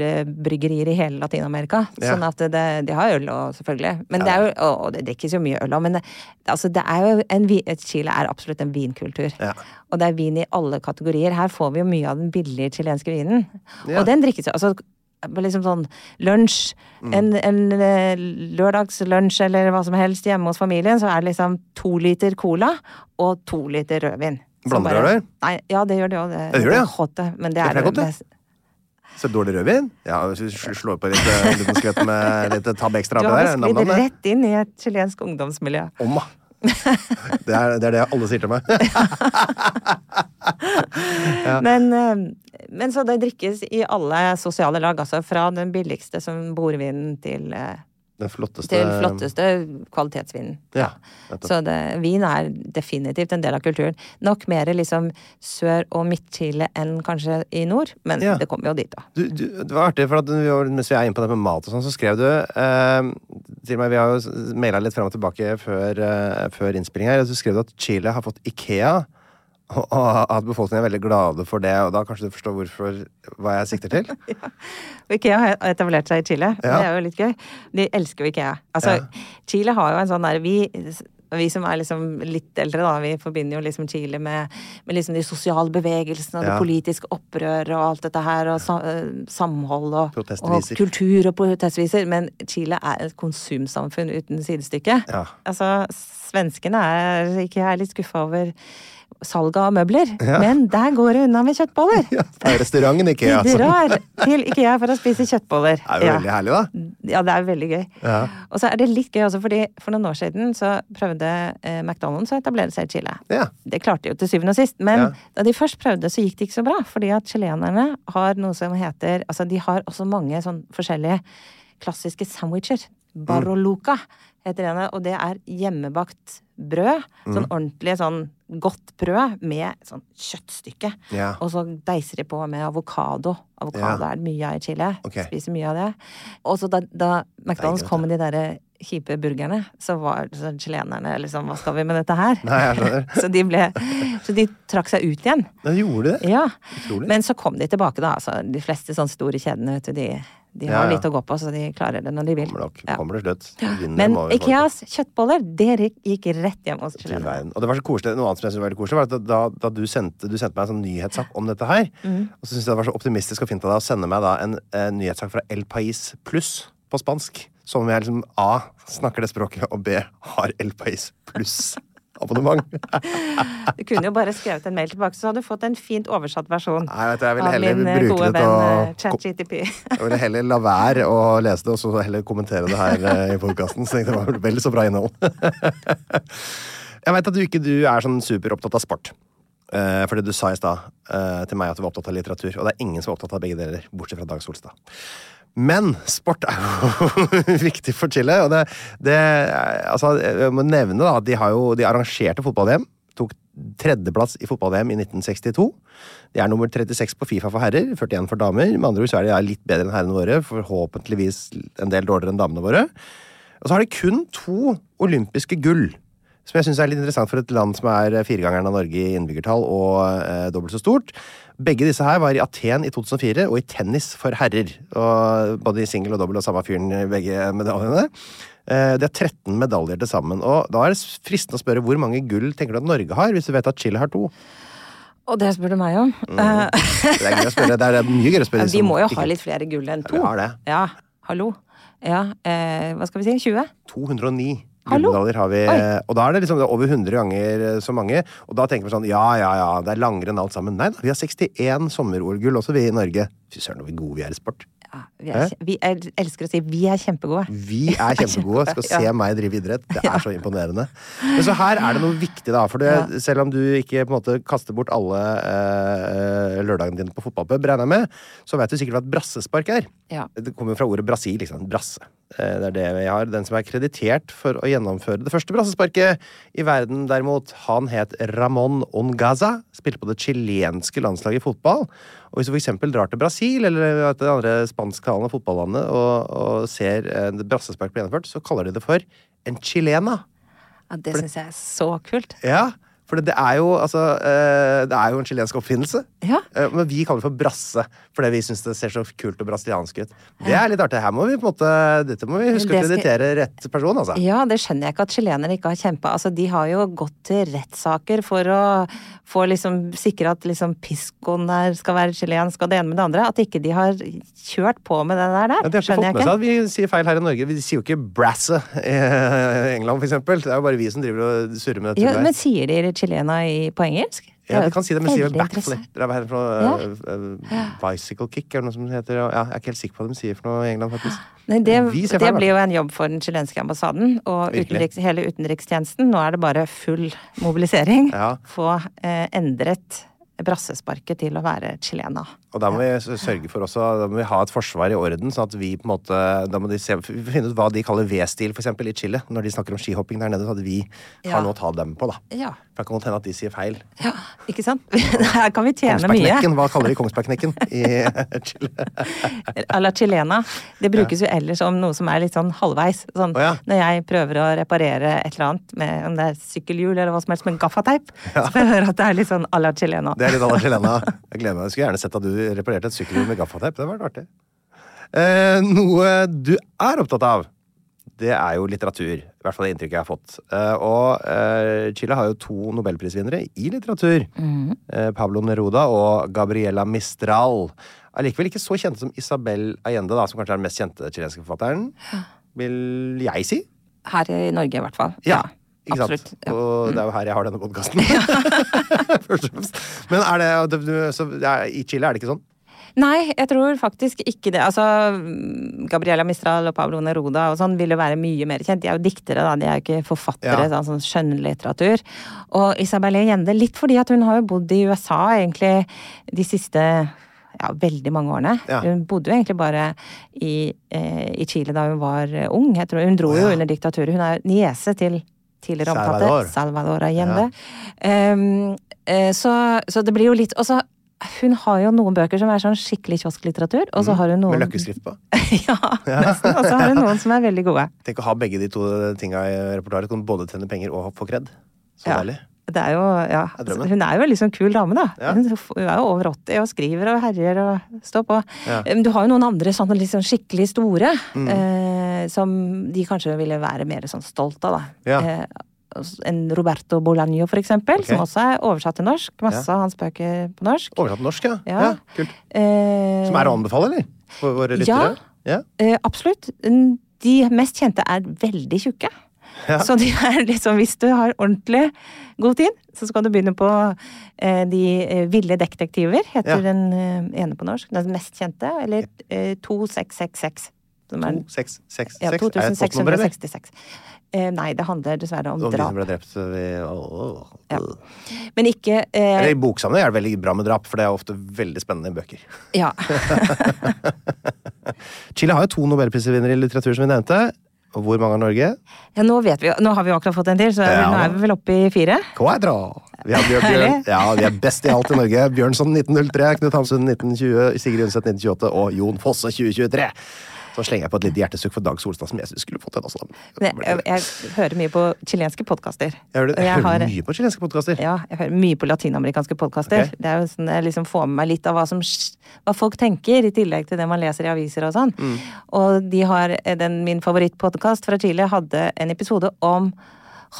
S2: ølbryggerier i hele Latin-Amerika.
S1: Ja.
S2: Sånn at det, de har øl òg, selvfølgelig. Men det er jo, og, og det drikkes jo mye øl òg. Men det, altså, det er jo en, vi- et Chile er absolutt en vinkultur.
S1: Ja.
S2: Og det er vin i alle kategorier. Her får vi jo mye av den billige chilenske vinen.
S1: Ja.
S2: Og den drikkes jo. Altså, liksom sånn lunsj.
S1: Mm.
S2: En, en eh, lørdagslunsj eller hva som helst hjemme hos familien, så er det liksom to liter cola og to liter rødvin. Som
S1: Blander
S2: bare-
S1: dere?
S2: Nei, ja, det gjør det òg. Det,
S1: Det gjør det, ja.
S2: hotte, men det
S1: Det
S2: er
S1: pleier
S2: det
S1: godt, det.
S2: best-
S1: Så dårlig rødvin? Ja, hvis du sl- slår på litt eh, liten skvett med litt tab ekstra
S2: Du
S1: oppi
S2: har
S1: der. Nam,
S2: sklidd
S1: nam, det.
S2: rett inn i et chilensk ungdomsmiljø.
S1: Om, da. Det er, det er det alle sier til meg.
S2: Men, eh, men så det drikkes i alle sosiale lag, altså. Fra den billigste som bordvinen til, eh,
S1: Den flotteste
S2: til flotteste kvalitetsvinen.
S1: Ja.
S2: Så det, vin er definitivt en del av kulturen. Nok mer liksom sør- og midt-Chile enn kanskje i nord, men
S1: Ja.
S2: det kommer jo dit, da.
S1: Du, du, det var artig, for at vi var, mens vi er inne på det med mat og sånn, så skrev du eh, til meg, Vi har jo maila litt fram og tilbake før, eh, før innspilling her. og Så skrev du at Chile har fått Ikea, og, og at befolkningen er veldig glade for det. Og da kanskje du forstår hvorfor, hva jeg sikter til?
S2: Og Ikea har etablert seg i Chile.
S1: Ja.
S2: Det er jo litt gøy. De elsker jo Ikea. Altså, Chile har jo en sånn der vi, vi som er liksom litt eldre, da, vi forbinder jo liksom Chile med, med liksom de sosiale bevegelsene og det
S1: Ja.
S2: politiske opprøret og alt dette her, og sa, eh, samhold og, og
S1: Protestviser.
S2: kultur og protestviser. Men Chile er et konsumsamfunn uten sidestykke.
S1: Ja.
S2: Altså, svenskene er Ikea er litt skuffa over salget av møbler, men der går det unna med kjøttboller.
S1: Ja, det er restauranten Ikea,
S2: De
S1: altså.
S2: drar til Ikea for å spise kjøttboller.
S1: Det er jo veldig herlig, da.
S2: Ja, det er veldig gøy. Og så er det litt gøy også, fordi for noen år siden så prøvde eh, McDonald's å etablere seg i Chile.
S1: Ja.
S2: Det klarte de jo til syvende og sist, men
S1: Ja.
S2: da de først prøvde, så gikk det ikke så bra. Fordi at chilenerne har noe som heter Altså, de har også mange sånn forskjellige klassiske sandwicher.
S1: Mm.
S2: Baroluca heter en av, og det er hjemmebakt brød.
S1: Mm.
S2: Sånn ordentlig sånn godt brød med sånn kjøttstykke.
S1: Ja.
S2: Og så deiser de på med avokado. Avokado
S1: Ja.
S2: er det mye av i Chile.
S1: Ok.
S2: Spiser mye av det. Og så da, da McDonald's
S1: Deilig, vet
S2: kom med de derre kjipe burgerne, så var så chilenerne liksom Hva skal vi med dette her?
S1: Nei, jeg skjønner.
S2: så de ble Så de trakk seg ut igjen.
S1: Da gjorde de det.
S2: Ja.
S1: Utrolig.
S2: Men så kom de tilbake, da. Altså, de fleste sånne store kjedene, vet du, de, de
S1: Ja,
S2: har
S1: ja.
S2: litt å gå på, så de klarer det når de vil.
S1: Kommer nok.
S2: Ja.
S1: Kommer til slutt. Vinner
S2: Men
S1: må vi få
S2: Ikeas kjøttboller, det gikk- gikk rett hjem hos
S1: til
S2: chilenerne.
S1: verden. Og det var så koselig, Noe annet som jeg synes var veldig koselig, var at da, da du, sendte, du sendte meg en sånn nyhetssak om dette her, og så syntes jeg det var så optimistisk og fint av deg å sende meg da en, eh, nyhetssak fra El Pais Pluss på spansk. Som om jeg liksom A snakker det språket, og B har El Pais Pluss abonnement.
S2: Du kunne jo bare skrevet en mail tilbake, så hadde du fått en fint oversatt versjon
S1: Nei, vet du, jeg ville
S2: av
S1: heller
S2: min eh,
S1: bruke
S2: gode
S1: det til
S2: venn
S1: å-
S2: eh, ChatGTP.
S1: Jeg ville heller la være å lese det, og så heller kommentere det her eh, i podkasten. Så tenkte jeg det var vel så bra innhold. Jeg veit at du ikke du er sånn superopptatt av sport. Eh, fordi du sa i stad eh, til meg at du var opptatt av litteratur, og det er ingen som er opptatt av begge deler, bortsett fra Dag Solstad. Men sport er jo viktig for Chile. Og det, det, er- altså, jeg må nevne da, at de, har jo, de arrangerte fotball-VM. Tok tredjeplass i fotball-VM i 1962. De er nummer 36 på Fifa for herrer, 41 for damer. Med andre ord så er de litt bedre enn herrene våre, forhåpentligvis en del dårligere enn damene våre. Og så har de kun to olympiske gull. Som jeg synes er litt interessant for et land som er firegangeren av Norge i innbyggertall og eh, dobbelt så stort. Begge disse her var i Aten i 2004 og i tennis for herrer. Og både i singel og dobbel og samme fyren i begge medaljene. Eh, de har 13 medaljer til sammen. Og da er det fristende å spørre hvor mange gull tenker du at Norge har, hvis du vet at Chile har to?
S2: Og det spør du meg om. Eh,
S1: Det er, gøy å spørre, det er mye gøyere å spørre de
S2: vi
S1: Mm, som
S2: må jo
S1: ikke-
S2: ha litt flere gull enn to.
S1: vi har det.
S2: Ja, hallo. Ja, eh, hva skal vi si? 20?
S1: 209
S2: Hallo?
S1: gullmedaljer har vi.
S2: Oi.
S1: Og da er det liksom det er over 100 ganger eh, så mange. Og da tenker vi sånn ja, ja, ja, det er langrenn alt sammen. Nei da, vi har 61 sommer-OL-gull også, vi i Norge. Fy søren, hvor gode vi er i sport.
S2: Ja, vi, er,
S1: Hæ?
S2: vi er, elsker å si 'vi er kjempegode'.
S1: Vi er kjempegode. Skal se
S2: Ja.
S1: meg drive idrett. Det er så imponerende. Men så her er det noe viktig, da. For det, selv om du ikke på en måte kaster bort alle eh, lørdagene dine på fotballpub, regner jeg med, så vet du sikkert hva et brassespark er.
S2: Ja.
S1: Det kommer jo fra ordet Brasil, ikke sant. Brasse. Eh, Det er det vi har. Den som er kreditert for å gjennomføre det første brassesparket i verden, derimot, han het Ramón Ongaza. Spilte på det chilenske landslaget i fotball. Og hvis du for eksempel drar til Brasil eller til det andre spansktalende fotballandet og, og ser eh, det brassespark bli gjennomført, så kaller de det for en chilena.
S2: Ja, det syns jeg er så kult.
S1: Ja, for det er jo, altså, eh, det er jo en chilensk oppfinnelse.
S2: Ja.
S1: Eh, Men vi kaller det for brasse, fordi vi syns det ser så kult og brasiliansk ut. Det er litt artig. Her må vi på en måte, dette må vi huske å
S2: Men det skal-
S1: kreditere rett person, altså.
S2: Ja, det skjønner jeg ikke at chilenere ikke har kjempa. Altså, de har jo gått til rettssaker for å for liksom, sikre at liksom, piscoen der skal være chilensk og det ene med det andre. At ikke de har kjørt på med det der. der.
S1: Ja, de har ikke fått
S2: skjønner jeg
S1: med seg
S2: ikke.
S1: at vi sier feil her i Norge. Vi sier jo ikke 'brasse' i England, for eksempel. Det er jo bare vi som driver og surrer med dette.
S2: Ja, men sier de chilena i, på engelsk?
S1: Ja, vi kan si det, men sier
S2: Veldig
S1: backflip.
S2: interessant.
S1: Det er hva heter det for noe, eh, eh, bicycle kick, eller noe som heter. Ja, jeg er ikke helt sikker på hva de sier for noe i England, faktisk.
S2: Nei, det,
S1: Vi sier
S2: det
S1: feil,
S2: blir
S1: da.
S2: jo en jobb for den chilenske ambassaden og
S1: Virkelig.
S2: utenriks, hele utenrikstjenesten. Nå er det bare full mobilisering.
S1: Ja.
S2: Få eh, endret brassesparket til å være chilena.
S1: Og da må vi s- sørge for også, da må vi ha et forsvar i orden, sånn at vi på en måte Da må de se, vi får finne ut hva de kaller V-stil, for eksempel, i Chile, når de snakker om skihopping der nede, så at vi
S2: Ja.
S1: har noe å ta dem på, da.
S2: Ja.
S1: For det kan godt hende at de sier feil.
S2: Ja, ikke sant? Her kan vi tjene mye.
S1: Kongsbergknekken, hva kaller de Kongsbergknekken i Chile?
S2: A la chilena. Det brukes jo ellers om noe som er litt sånn halvveis. Sånn,
S1: Å ja.
S2: Når jeg prøver å reparere et eller annet, med, om det er sykkelhjul eller hva som helst, med gaffateip, så får jeg høre at det er litt sånn à la chilena.
S1: Det er litt à la Helena. Jeg gleder meg. Jeg skulle gjerne sett at du reparerte et sykkelhjul med gaffateip. Det hadde vært artig. Eh, noe du er opptatt av, det er jo litteratur. I hvert fall det inntrykket jeg har fått. Eh, og eh, Chile har jo to nobelprisvinnere i litteratur. eh, Pablo Neruda og Gabriela Mistral. Allikevel ikke så kjente som Isabel Allende, da, som kanskje er den mest kjente chilenske forfatteren. Vil jeg si.
S2: Her i Norge, i hvert fall.
S1: Ja. Ikke
S2: Absolutt,
S1: sant?
S2: ja. Mm.
S1: Og det er jo her jeg har denne podkasten. Først og fremst. Men er det, det- du- så, ja, i Chile er det ikke sånn?
S2: Nei, jeg tror faktisk ikke det. Altså, mm, Gabriela Mistral og Pablo Neruda og sånn vil jo være mye mer kjent. De er jo diktere, da. De er jo ikke forfattere.
S1: Ja.
S2: Sånn, sånn skjønnlitteratur. Og Isabel Allende litt fordi at hun har jo bodd i USA egentlig de siste ja, veldig mange årene.
S1: Ja.
S2: Hun bodde jo egentlig bare i, eh, i Chile da hun var eh, ung. Jeg tror, hun dro jo under diktaturet. Hun er jo niese til tidligere
S1: Salvador.
S2: omtalte Salvador Allende. Ehm, eh, så, så det blir jo litt Og så hun har jo noen bøker som er sånn skikkelig kiosklitteratur, og så har hun noen
S1: Mm. Med løkkeskrift på?
S2: ja, nesten. Og så har hun noen som er veldig gode.
S1: Tenk å ha begge de to tinga i repertoaret. Kan både tjene penger og få kred. Så
S2: Ja.
S1: deilig.
S2: Det er jo, ja,
S1: Det er drømmen.
S2: hun er jo en liksom kul dame, da.
S1: Ja.
S2: Hun f- hun er jo over 80 og skriver og herjer og står på.
S1: Ja. Mm.
S2: Men Du har jo noen andre sånne liksom skikkelig store, eh, som de kanskje ville være mer sånn stolt av, da.
S1: Ja.
S2: Eh, en Roberto Bolaño, for eksempel,
S1: Ok.
S2: som også er oversatt til norsk. Masse
S1: Ja.
S2: av hans bøker på norsk.
S1: Oversatt til norsk, ja.
S2: Ja.
S1: ja. Kult.
S2: Eh,
S1: Som er å anbefale, eller? For våre lyttere? Ja.
S2: Eh, absolutt. N- De mest kjente er veldig tjukke. Så de er liksom, hvis du har ordentlig god tid, så skal du begynne på eh, De eh, ville detektiver, heter
S1: Ja.
S2: den eh, ene på norsk. Den mest kjente. Eller eh, 2666. Som er,
S1: 2666.
S2: ja,
S1: er det et postnummer, eller?
S2: 2666. Eh, nei, det handler dessverre om
S1: Om de som
S2: drap.
S1: ble drept så vi, åh, åh.
S2: Ja. Men ikke eh,
S1: Eller I boksammenheng er det veldig bra med drap, for det er ofte veldig spennende bøker.
S2: Ja.
S1: Chile har jo to nobelprisvinnere i litteratur, som vi nevnte. Og hvor mange har Norge?
S2: ja nå, vet vi, nå har vi jo akkurat fått en til, så
S1: Ja.
S2: nå er vi vel oppe i fire.
S1: Quadra! Vi har Bjørn, Bjørn.
S2: Herlig.
S1: Ja, vi er best i alt i Norge. Bjørnson 1903, Knut Hamsun 1920, Sigrid Undset 1928 og Jon Fosse 2023. Så slenger jeg på et lite hjertesukk for Dag Solstad, som jeg synes skulle fått den altså. også.
S2: Men Jeg, jeg hører mye på chilenske podkaster.
S1: Jeg hører, jeg
S2: Og jeg
S1: hører
S2: har-
S1: mye på chilenske podkaster.
S2: Ja, jeg hører mye på latinamerikanske podkaster.
S1: Ok.
S2: Det er jo sånn jeg liksom får med meg litt av hva, som, sk- hva folk tenker, i tillegg til det man leser i aviser og sånn.
S1: Mm.
S2: Og de har eh, den, min favorittpodkast fra Chile hadde en episode om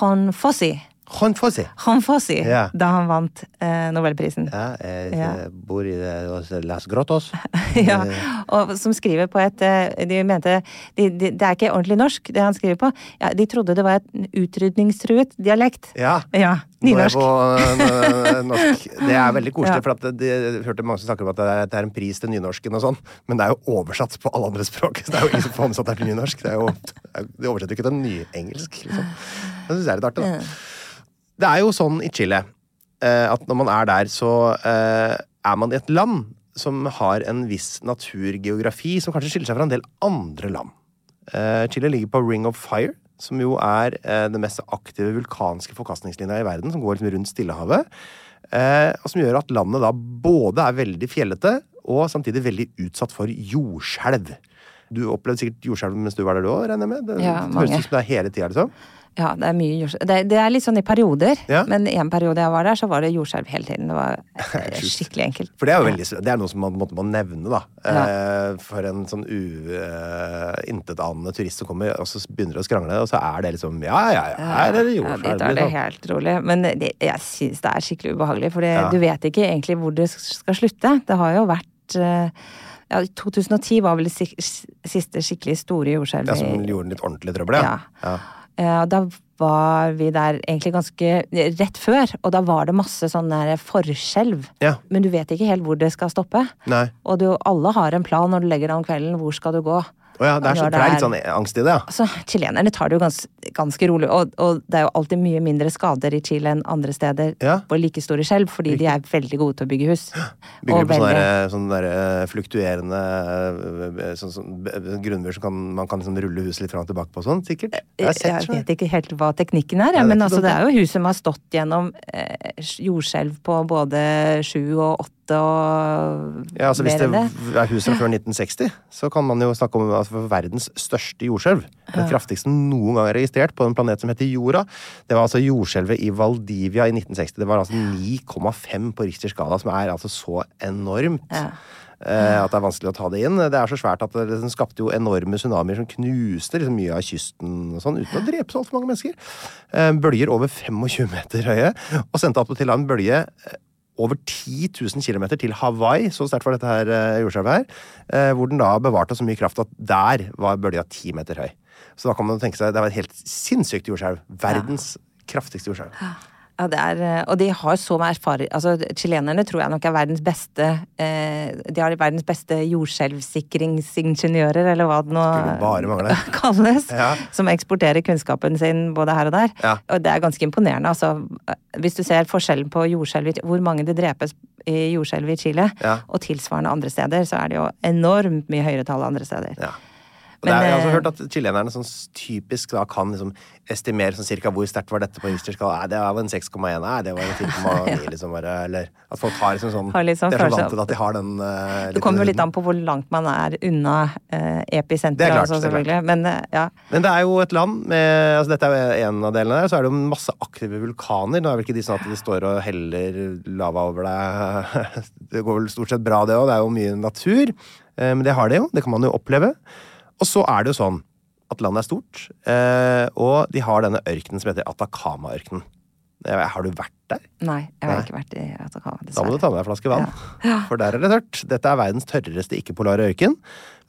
S2: Juan Fossi.
S1: Juan Fosse.
S2: Juan Fossi,
S1: Ja.
S2: da han vant eh, Nobelprisen.
S1: Ja, jeg,
S2: Ja.
S1: jeg bor i eh, hos Las Grotos. Eh,
S2: ja, og som skriver på et eh, De mente de, de, Det er ikke ordentlig norsk, det han skriver på. Ja, de trodde det var en utrydningstruet dialekt.
S1: Ja.
S2: Ja, Nynorsk.
S1: Nå er jeg På, eh, n- norsk. Det er veldig
S2: Ja.
S1: koselig, for at det, det- jeg hørte mange som snakker om at det er, det er en pris til nynorsken og sånn, men det er jo oversatt på alle andre språk. Så det er jo ingen som får med seg at det er til nynorsk. Det er jo, de oversetter jo ikke til nyengelsk, liksom. Det syns jeg er litt artig, da. Det er jo sånn i Chile eh, at når man er der, så eh, er man i et land som har en viss naturgeografi som kanskje skiller seg fra en del andre land. Eh, Chile ligger på Ring of Fire, som jo er eh, den mest aktive vulkanske forkastningslinja i verden, som går liksom rundt Stillehavet. Eh, og som gjør at landet da både er veldig fjellete og samtidig veldig utsatt for jordskjelv. Du opplevde sikkert jordskjelv mens du var der du òg, regner jeg med? Det,
S2: Ja,
S1: det
S2: mange.
S1: høres ut som det er hele tida, liksom.
S2: Ja, det er mye jordskjelv. Det, det er litt sånn i perioder,
S1: Ja.
S2: men en periode jeg var der, så var det jordskjelv hele tiden. Det var eh, skikkelig enkelt.
S1: For det er jo veldig, det er noe som man på en måte må nevne, da.
S2: Ja.
S1: Eh, For en sånn uintetanende turist som kommer, og så begynner å skrangle, og så er det liksom Ja, ja, ja, her er det
S2: Ja, dit
S1: jordskjelv.
S2: er det
S1: liksom.
S2: helt rolig. Men det, jeg syns det er skikkelig ubehagelig, for
S1: Ja.
S2: du vet ikke egentlig hvor det skal slutte. Det har jo vært eh, ja, 2010 var vel det sik- siste skikkelig store
S1: Ja,
S2: jordskjelvet.
S1: som
S2: i-
S1: gjorde den litt ordentlig trøbbel, ja. ja.
S2: Eh, Og da var vi der egentlig ganske eh, rett før, og da var det masse sånn der forskjelv.
S1: Ja.
S2: Men du vet ikke helt hvor det skal stoppe.
S1: Nei.
S2: Og du, alle har en plan når du legger deg om kvelden, hvor skal du gå?
S1: Å ja, det er,
S2: Og
S1: så,
S2: når
S1: for det er litt sånn angst i det, ja.
S2: Altså, Chilenerne tar det jo gans, ganske rolig, og, og det er jo alltid mye mindre skader i Chile enn andre steder
S1: Ja.
S2: på like store skjelv, fordi de er veldig gode til å bygge hus.
S1: Bygger
S2: Og
S1: du på sånne,
S2: veldig-
S1: der, sånne der, eh, fluktuerende eh, sånn, sånn, eh, grunnmur som kan, man kan liksom rulle huset litt fram og tilbake på og sånn,
S2: Eh,
S1: sikkert? Jeg har sett, sånn.
S2: jeg
S1: skjønner
S2: vet ikke helt hva teknikken er,
S1: Nei, det er
S2: ja, men
S1: ikke sånn
S2: altså,
S1: dumt,
S2: det er jo hus som har stått gjennom eh, jordskjelv på både sju og åtte og
S1: Ja, altså Hvis
S2: mer
S1: det
S2: enn det.
S1: er hus fra før 1960, så kan man jo snakke om altså, for verdens største jordskjelv. Den kraftigste noen gang registrert på en planet som heter jorda. Det var altså jordskjelvet i Valdivia i 1960. Det var altså 9,5 på Richters skala, som er altså så enormt. eh, At det er vanskelig å ta det inn. Det er så svært at det liksom skapte jo enorme tsunamier som knuste liksom mye av kysten og sånn, uten å drepe så altfor mange mennesker. Eh, Bølger over 25 meter høye, og sendte attpåtil en bølge eh, over 10 000 km til Hawaii, så sterkt var dette her eh, jordskjelvet her, eh, hvor den da bevarte så mye kraft at der var bølga ti meter høy. Så da kan man tenke seg, det var et helt sinnssykt jordskjelv. Verdens kraftigste jordskjelv.
S2: Ja, det er, eh, og de har så mye erfaring altså, Chilenerne tror jeg nok er verdens beste eh, De har verdens beste jordskjelvsikringsingeniører, eller hva det nå
S1: Skulle bare mangle.
S2: kalles.
S1: Ja.
S2: Som eksporterer kunnskapen sin både her og der.
S1: Ja.
S2: Og det er ganske imponerende. Altså, eh, hvis du ser forskjellen på jordskjelv i- hvor mange det drepes i jordskjelv i Chile,
S1: Ja.
S2: og tilsvarende andre steder, så er det jo enormt mye høyere tall andre steder.
S1: Ja. Og
S2: Men,
S1: det er, jeg har også
S2: eh,
S1: hørt at chilenerne sånn typisk da kan liksom estimere sånn cirka hvor sterkt var dette på Richter-skala. Nei, det var en 6,1. Nei, det var en 10,9, liksom. Bare, eller at folk har liksom sånn
S2: Har litt sånn
S1: De er så
S2: følelse av-
S1: vant til at de har den eh,
S2: Det kommer jo litt
S1: huden.
S2: an på hvor langt man er unna eh,
S1: Det er
S2: episenteret
S1: klart,
S2: også,
S1: det er klart.
S2: selvfølgelig. Men eh, ja.
S1: Men det er jo et land med altså Dette er jo en av delene der. Så er det jo masse aktive vulkaner. Nå er vel ikke de sånn at de står og heller lava over deg. Det går vel stort sett bra, det òg. Det er jo mye natur. Eh, Men det har de jo. Det kan man jo oppleve. Og så er det jo sånn at landet er stort, eh, og de har denne ørkenen som heter Atacama-ørkenen. Eh, Har du vært der?
S2: Nei, jeg har
S1: Nei.
S2: ikke vært i Atacama,
S1: Da må du ta med deg en flaske vann. For der er det tørt. Dette er verdens tørreste ikke-polare øyken.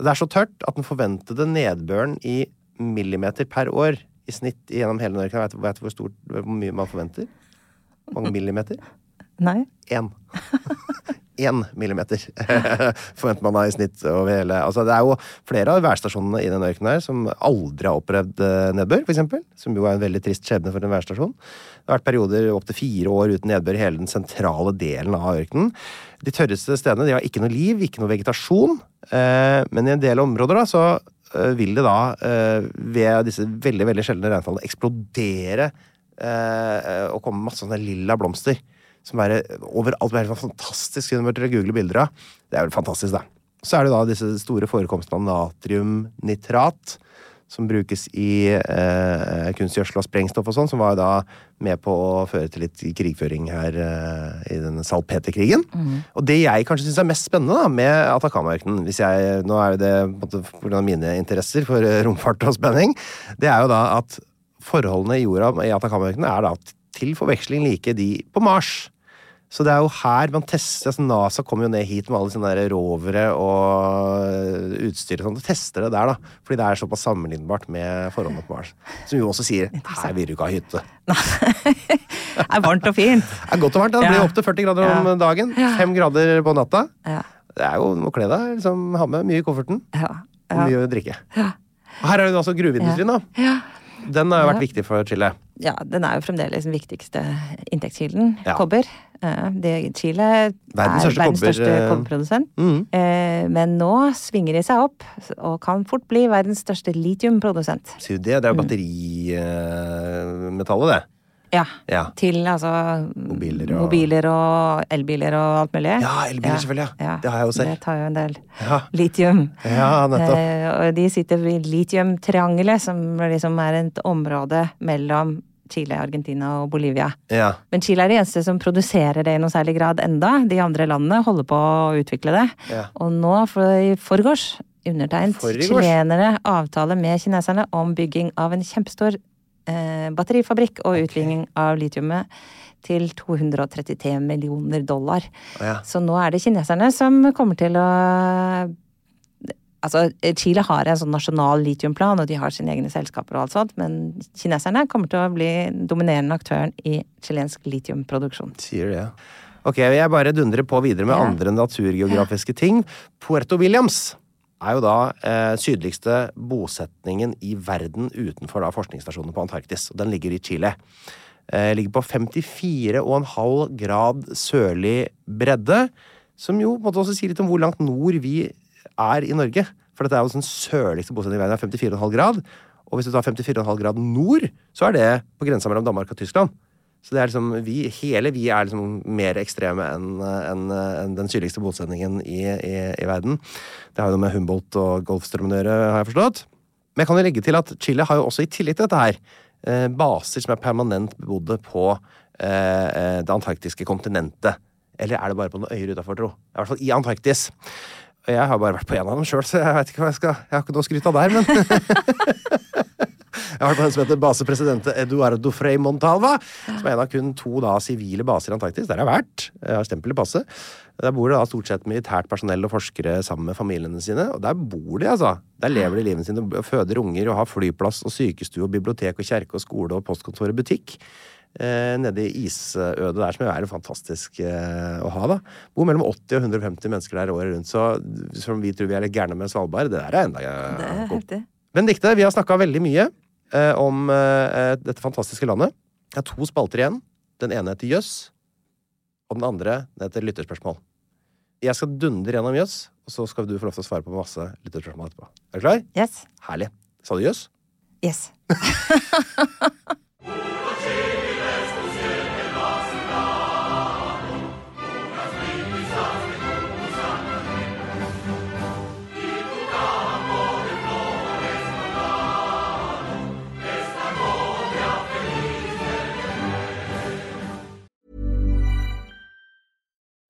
S1: Det er så tørt at den forventede nedbøren i millimeter per år i snitt gjennom hele Norge Vet vet du hvor, stort, hvor mye man forventer? Hvor mange millimeter?
S2: Nei.
S1: Én. Én millimeter forventer man da i snitt over hele Altså, det er jo flere av værstasjonene i den ørkenen her som aldri har opplevd eh, nedbør, for eksempel. Som jo er en veldig trist skjebne for en værstasjon. Det har vært perioder opptil fire år uten nedbør i hele den sentrale delen av ørkenen. De tørreste stedene de har ikke noe liv, ikke noe vegetasjon. eh, Men i en del områder da, så eh, vil det da, eh, ved disse veldig, veldig sjeldne reintallene, eksplodere eh, og komme masse sånne lilla blomster som er overalt. Det er helt fantastisk. Kunne dere google bilder av. Det er vel fantastisk, da. Så er det da disse store forekomstene av natriumnitrat, som brukes i eh, kunstgjødsel og sprengstoff og sånn, som var da med på å føre til litt krigføring her eh, i denne salpeterkrigen. Og det jeg kanskje syns er mest spennende da, med Atacama-ørkenen, hvis jeg Nå er det på en måte pga. mine interesser for eh, romfart og spenning, det er jo da at forholdene i jorda i Atacama-ørkenen er da til forveksling like de på Mars. Så det er jo her man tester altså NASA kommer jo ned hit med alle sine der rovere og utstyr og sånn. og Tester det der, da. Fordi det er såpass sammenlignbart med forholdene på Mars. Som jo også sier her vil du ikke ha hytte.
S2: Det er varmt og fint.
S1: Det er godt og varmt. da. Det blir
S2: Ja.
S1: opptil 40 grader om
S2: Ja.
S1: dagen. Fem grader på natta.
S2: Ja.
S1: Det er jo du må kle deg. Liksom, ha med mye i kofferten.
S2: Ja.
S1: Og
S2: Ja.
S1: mye å drikke. Og her er det altså gruveindustrien, da.
S2: ja.
S1: Den har jo vært viktig for Chile.
S2: ja, den er jo fremdeles den viktigste inntektskilden.
S1: Ja.
S2: Kobber. Eh, det- Chile er
S1: Verdens største
S2: verdens
S1: kobber,
S2: største
S1: eh,
S2: kobberprodusent. Eh, men nå svinger de seg opp, og kan fort bli verdens største litiumprodusent.
S1: Sier du det? Det er jo batterimetallet, det.
S2: Ja.
S1: Ja.
S2: Til altså
S1: Mobiler og-
S2: mobiler og elbiler og alt mulig.
S1: Ja, elbiler selvfølgelig, ja. Det har jeg jo selv.
S2: Det tar jo en del.
S1: Ja.
S2: Litium.
S1: Ja, nettopp.
S2: Eh, og de sitter ved litiumtriangelet, som liksom er et område mellom Chile, Argentina og Bolivia.
S1: Ja.
S2: Men Chile er de eneste som produserer det i noe særlig grad enda. De andre landene holder på å utvikle det.
S1: Ja.
S2: Og nå, for i forgårs, undertegnet
S1: Forgårs?
S2: chilenere avtale med kineserne om bygging av en kjempestor eh, batterifabrikk og utvinning av litiumet til 233 millioner dollar.
S1: Ja.
S2: Så nå er det kineserne som kommer til å Altså, Chile har en sånn nasjonal litiumplan, og de har sine egne selskaper og alt sånt, men kineserne kommer til å bli dominerende aktøren i chilensk litiumproduksjon.
S1: Sier det, ja. Ok, jeg bare dundrer på videre med andre naturgeografiske ting. Puerto Williams er jo da eh, sydligste bosetningen i verden utenfor da forskningsstasjonen på Antarktis. og Den ligger i Chile. Eh, ligger på 54,5 grad sørlig bredde, som jo på en måte også sier litt om hvor langt nord vi er i Norge. For dette er jo den sørligste bosetningen i verden, er 54,5 grad. Og hvis du tar 54,5 grad nord, så er det på grensa mellom Danmark og Tyskland. Så det er liksom, vi, hele vi er liksom mer ekstreme enn enn- enn den sydligste bosetningen i, i, i verden. Det har jo noe med Humboldt og Golfstrømmen å gjøre, har jeg forstått. Men jeg kan jo legge til at Chile har jo også i tillegg til dette her eh, baser som er permanent bebodde på eh, eh, det antarktiske kontinentet. Eller er det bare på noen øyer utafor, tro? I hvert fall i Antarktis. Og jeg har bare vært på en av dem sjøl, så jeg vet ikke hva jeg skal Jeg har ikke noe å skryte av der, men Jeg har vært på en som heter base presidente Eduardo Frei Montalva. Som er en av kun to da sivile baser i Antarktis. Der har jeg vært. Jeg har stempel i passet. Der bor det da stort sett militært personell og forskere sammen med familiene sine. Og der bor de, altså. Der lever de livet sitt og føder unger og har flyplass og sykestue og bibliotek og kjerke og skole og postkontor og butikk. Eh, nede i isødet der, som er fantastisk eh, å ha. da Bor mellom 80 og 150 mennesker der året rundt. Så som vi tror vi er litt gærne med Svalbard, det der er enda
S2: Det
S1: eh,
S2: er
S1: godt.
S2: heftig.
S1: Benedikte, vi har snakka veldig mye eh, om eh, dette fantastiske landet. Jeg har to spalter igjen. Den ene heter Jøss, og den andre den heter Lytterspørsmål. Jeg skal dundre gjennom Jøss, og så skal du få lov til å svare på masse lytterspørsmål etterpå. Er du klar?
S2: Yes.
S1: Herlig. Sa du Jøss?
S2: Yes.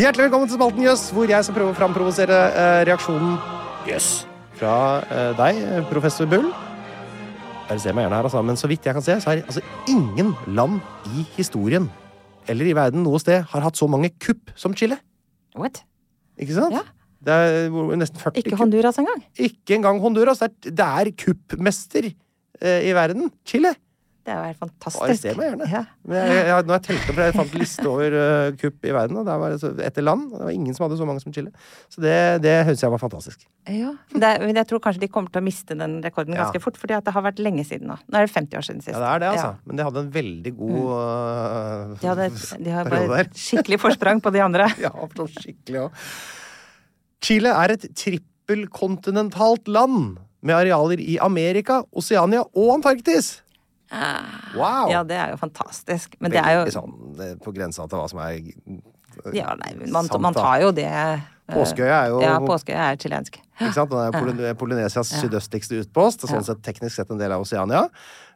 S1: Hjertelig velkommen til spalten Jøss, hvor jeg skal prøve å framprovosere eh, reaksjonen Jøss fra eh, deg, professor Bull. Dere ser meg gjerne her, altså, men så vidt jeg kan se, så er altså ingen land i historien eller i verden noe sted har hatt så mange kupp som Chile.
S2: What?
S1: Ikke sant?
S2: Ja.
S1: Det er hvor- nesten 40
S2: Ikke
S1: kupp.
S2: Honduras engang.
S1: Ikke engang Honduras. Det er, det er kuppmester eh, i verden. Chile.
S2: Det er jo helt fantastisk.
S1: Arrester meg gjerne.
S2: Ja.
S1: Men jeg, jeg, jeg, når jeg telte opp, jeg fant liste over eh, kupp i verden, og der var det så, etter land. og Det var ingen som hadde så mange som Chile. Så det, det høres jeg var fantastisk.
S2: Ja. Det er, men jeg tror kanskje de kommer til å miste den rekorden
S1: Ja.
S2: ganske fort, fordi at det har vært lenge siden nå. Nå er det 50 år siden sist.
S1: Ja, det er det, altså.
S2: Ja. Mm.
S1: Men de hadde en veldig god eh,
S2: De, hadde, de har
S1: periode
S2: bare
S1: der.
S2: et skikkelig forsprang på de andre.
S1: Ja, for så skikkelig òg. Chile er et trippelkontinentalt land med arealer i Amerika, Oseania og Antarktis. Wow!
S2: Ah. Ja, det er jo fantastisk. Men det er
S1: Veldig
S2: jo
S1: sånn liksom, eh, på grensa til hva som er eh,
S2: ja, nei, men man,
S1: sant,
S2: man
S1: da.
S2: tar jo det eh,
S1: Påskeøya er jo-
S2: Ja, Påskeøya er chilensk.
S1: Ikke sant? Den er Poly Polynesias sydøstligste utpost, og sånn sett teknisk sett en del av Oseania.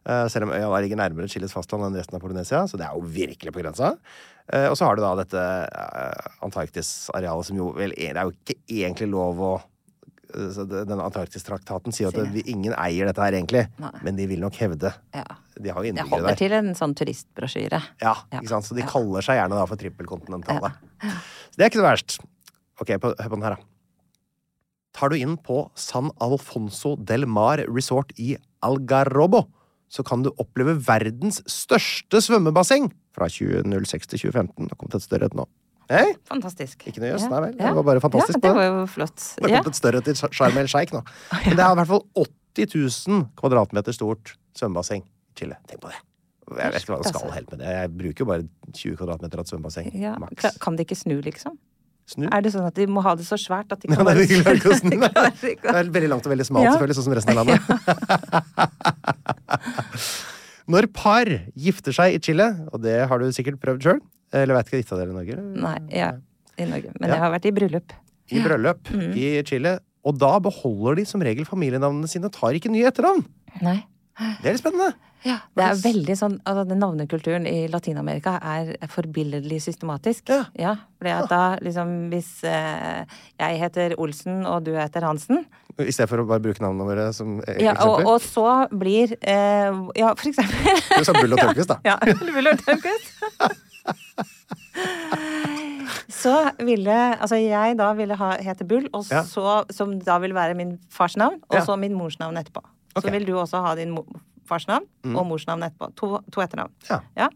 S1: Eh, selv om øya da ligger nærmere Chiles fastland enn resten av Polynesia, så det er jo virkelig på grensa. Eh, og så har du da dette eh, Antarktisarealet som jo vel er, Det er jo ikke egentlig lov å eh, så det- den Antarktistraktaten sier at det, vi, ingen eier dette her, egentlig. Men de vil nok hevde.
S2: Ja.
S1: De har jo
S2: Jeg
S1: innbyggere
S2: holder
S1: der.
S2: til en sånn turistbrosjyre.
S1: Ja, ikke sant? Så de kaller seg gjerne da for trippelkontinentale. Så det er ikke så verst. Ok, på- hør på den her, da. Tar du inn på San Alfonso del Mar Resort i Algarrobo, så kan du oppleve verdens største svømmebasseng fra 2006 til 2015. Det har kommet et større et nå. Hei,
S2: Fantastisk.
S1: Ikke noe jøss,
S2: Ja.
S1: nei vel. Det
S2: Ja.
S1: var bare fantastisk
S2: Ja, det
S1: på
S2: var
S1: den.
S2: jo flott.
S1: det har
S2: Ja.
S1: kommet et større et i Sharm el Sheikh nå. Men det er i hvert fall 80 000 kvadratmeter stort svømmebasseng i Chile. Tenk på det. Jeg vet ikke hva du skal helt med det. Jeg bruker jo bare 20 kvadratmeter av et svømmebasseng.
S2: Ja.
S1: Maks.
S2: Kan de ikke snu, liksom?
S1: Snu.
S2: Er det sånn at de må ha det så svært at de
S1: Ja,
S2: kan
S1: nei,
S2: bare
S1: de klarer ikke å snu.
S2: De klarer ikke
S1: Det
S2: å-
S1: er veldig langt og veldig smalt,
S2: Ja.
S1: selvfølgelig, sånn som resten av landet. Når par gifter seg i Chile, og det har du sikkert prøvd sjøl Eller veit ikke gifta dere i Norge? eller?
S2: Nei, ja, i Norge. Men
S1: Ja.
S2: jeg har vært i bryllup.
S1: I bryllup
S2: Mm.
S1: i Chile. Og da beholder de som regel familienavnene sine og tar ikke nye etternavn.
S2: Nei.
S1: Det er litt spennende.
S2: Det er veldig sånn, altså den Navnekulturen i Latin-Amerika er forbilledlig systematisk.
S1: Ja.
S2: fordi at da liksom Hvis eh, jeg heter Olsen og du heter Hansen,
S1: I stedet for å bare bruke navnene våre som eh,
S2: ja, og,
S1: eksempler.
S2: og så blir eh, Ja, for eksempel.
S1: Du sa sånn Bull og Tørnquist, da.
S2: Ja, eller Bull og Tørnquist. Så ville Altså, jeg da ville ha, hete Bull, og
S1: Ja.
S2: så, som da vil være min fars navn, og
S1: Ja.
S2: så min mors navn etterpå.
S1: Ok. Mm.
S2: Så vil du også ha din mo fars navn og mors navn etterpå. To, to etternavn.
S1: Ja.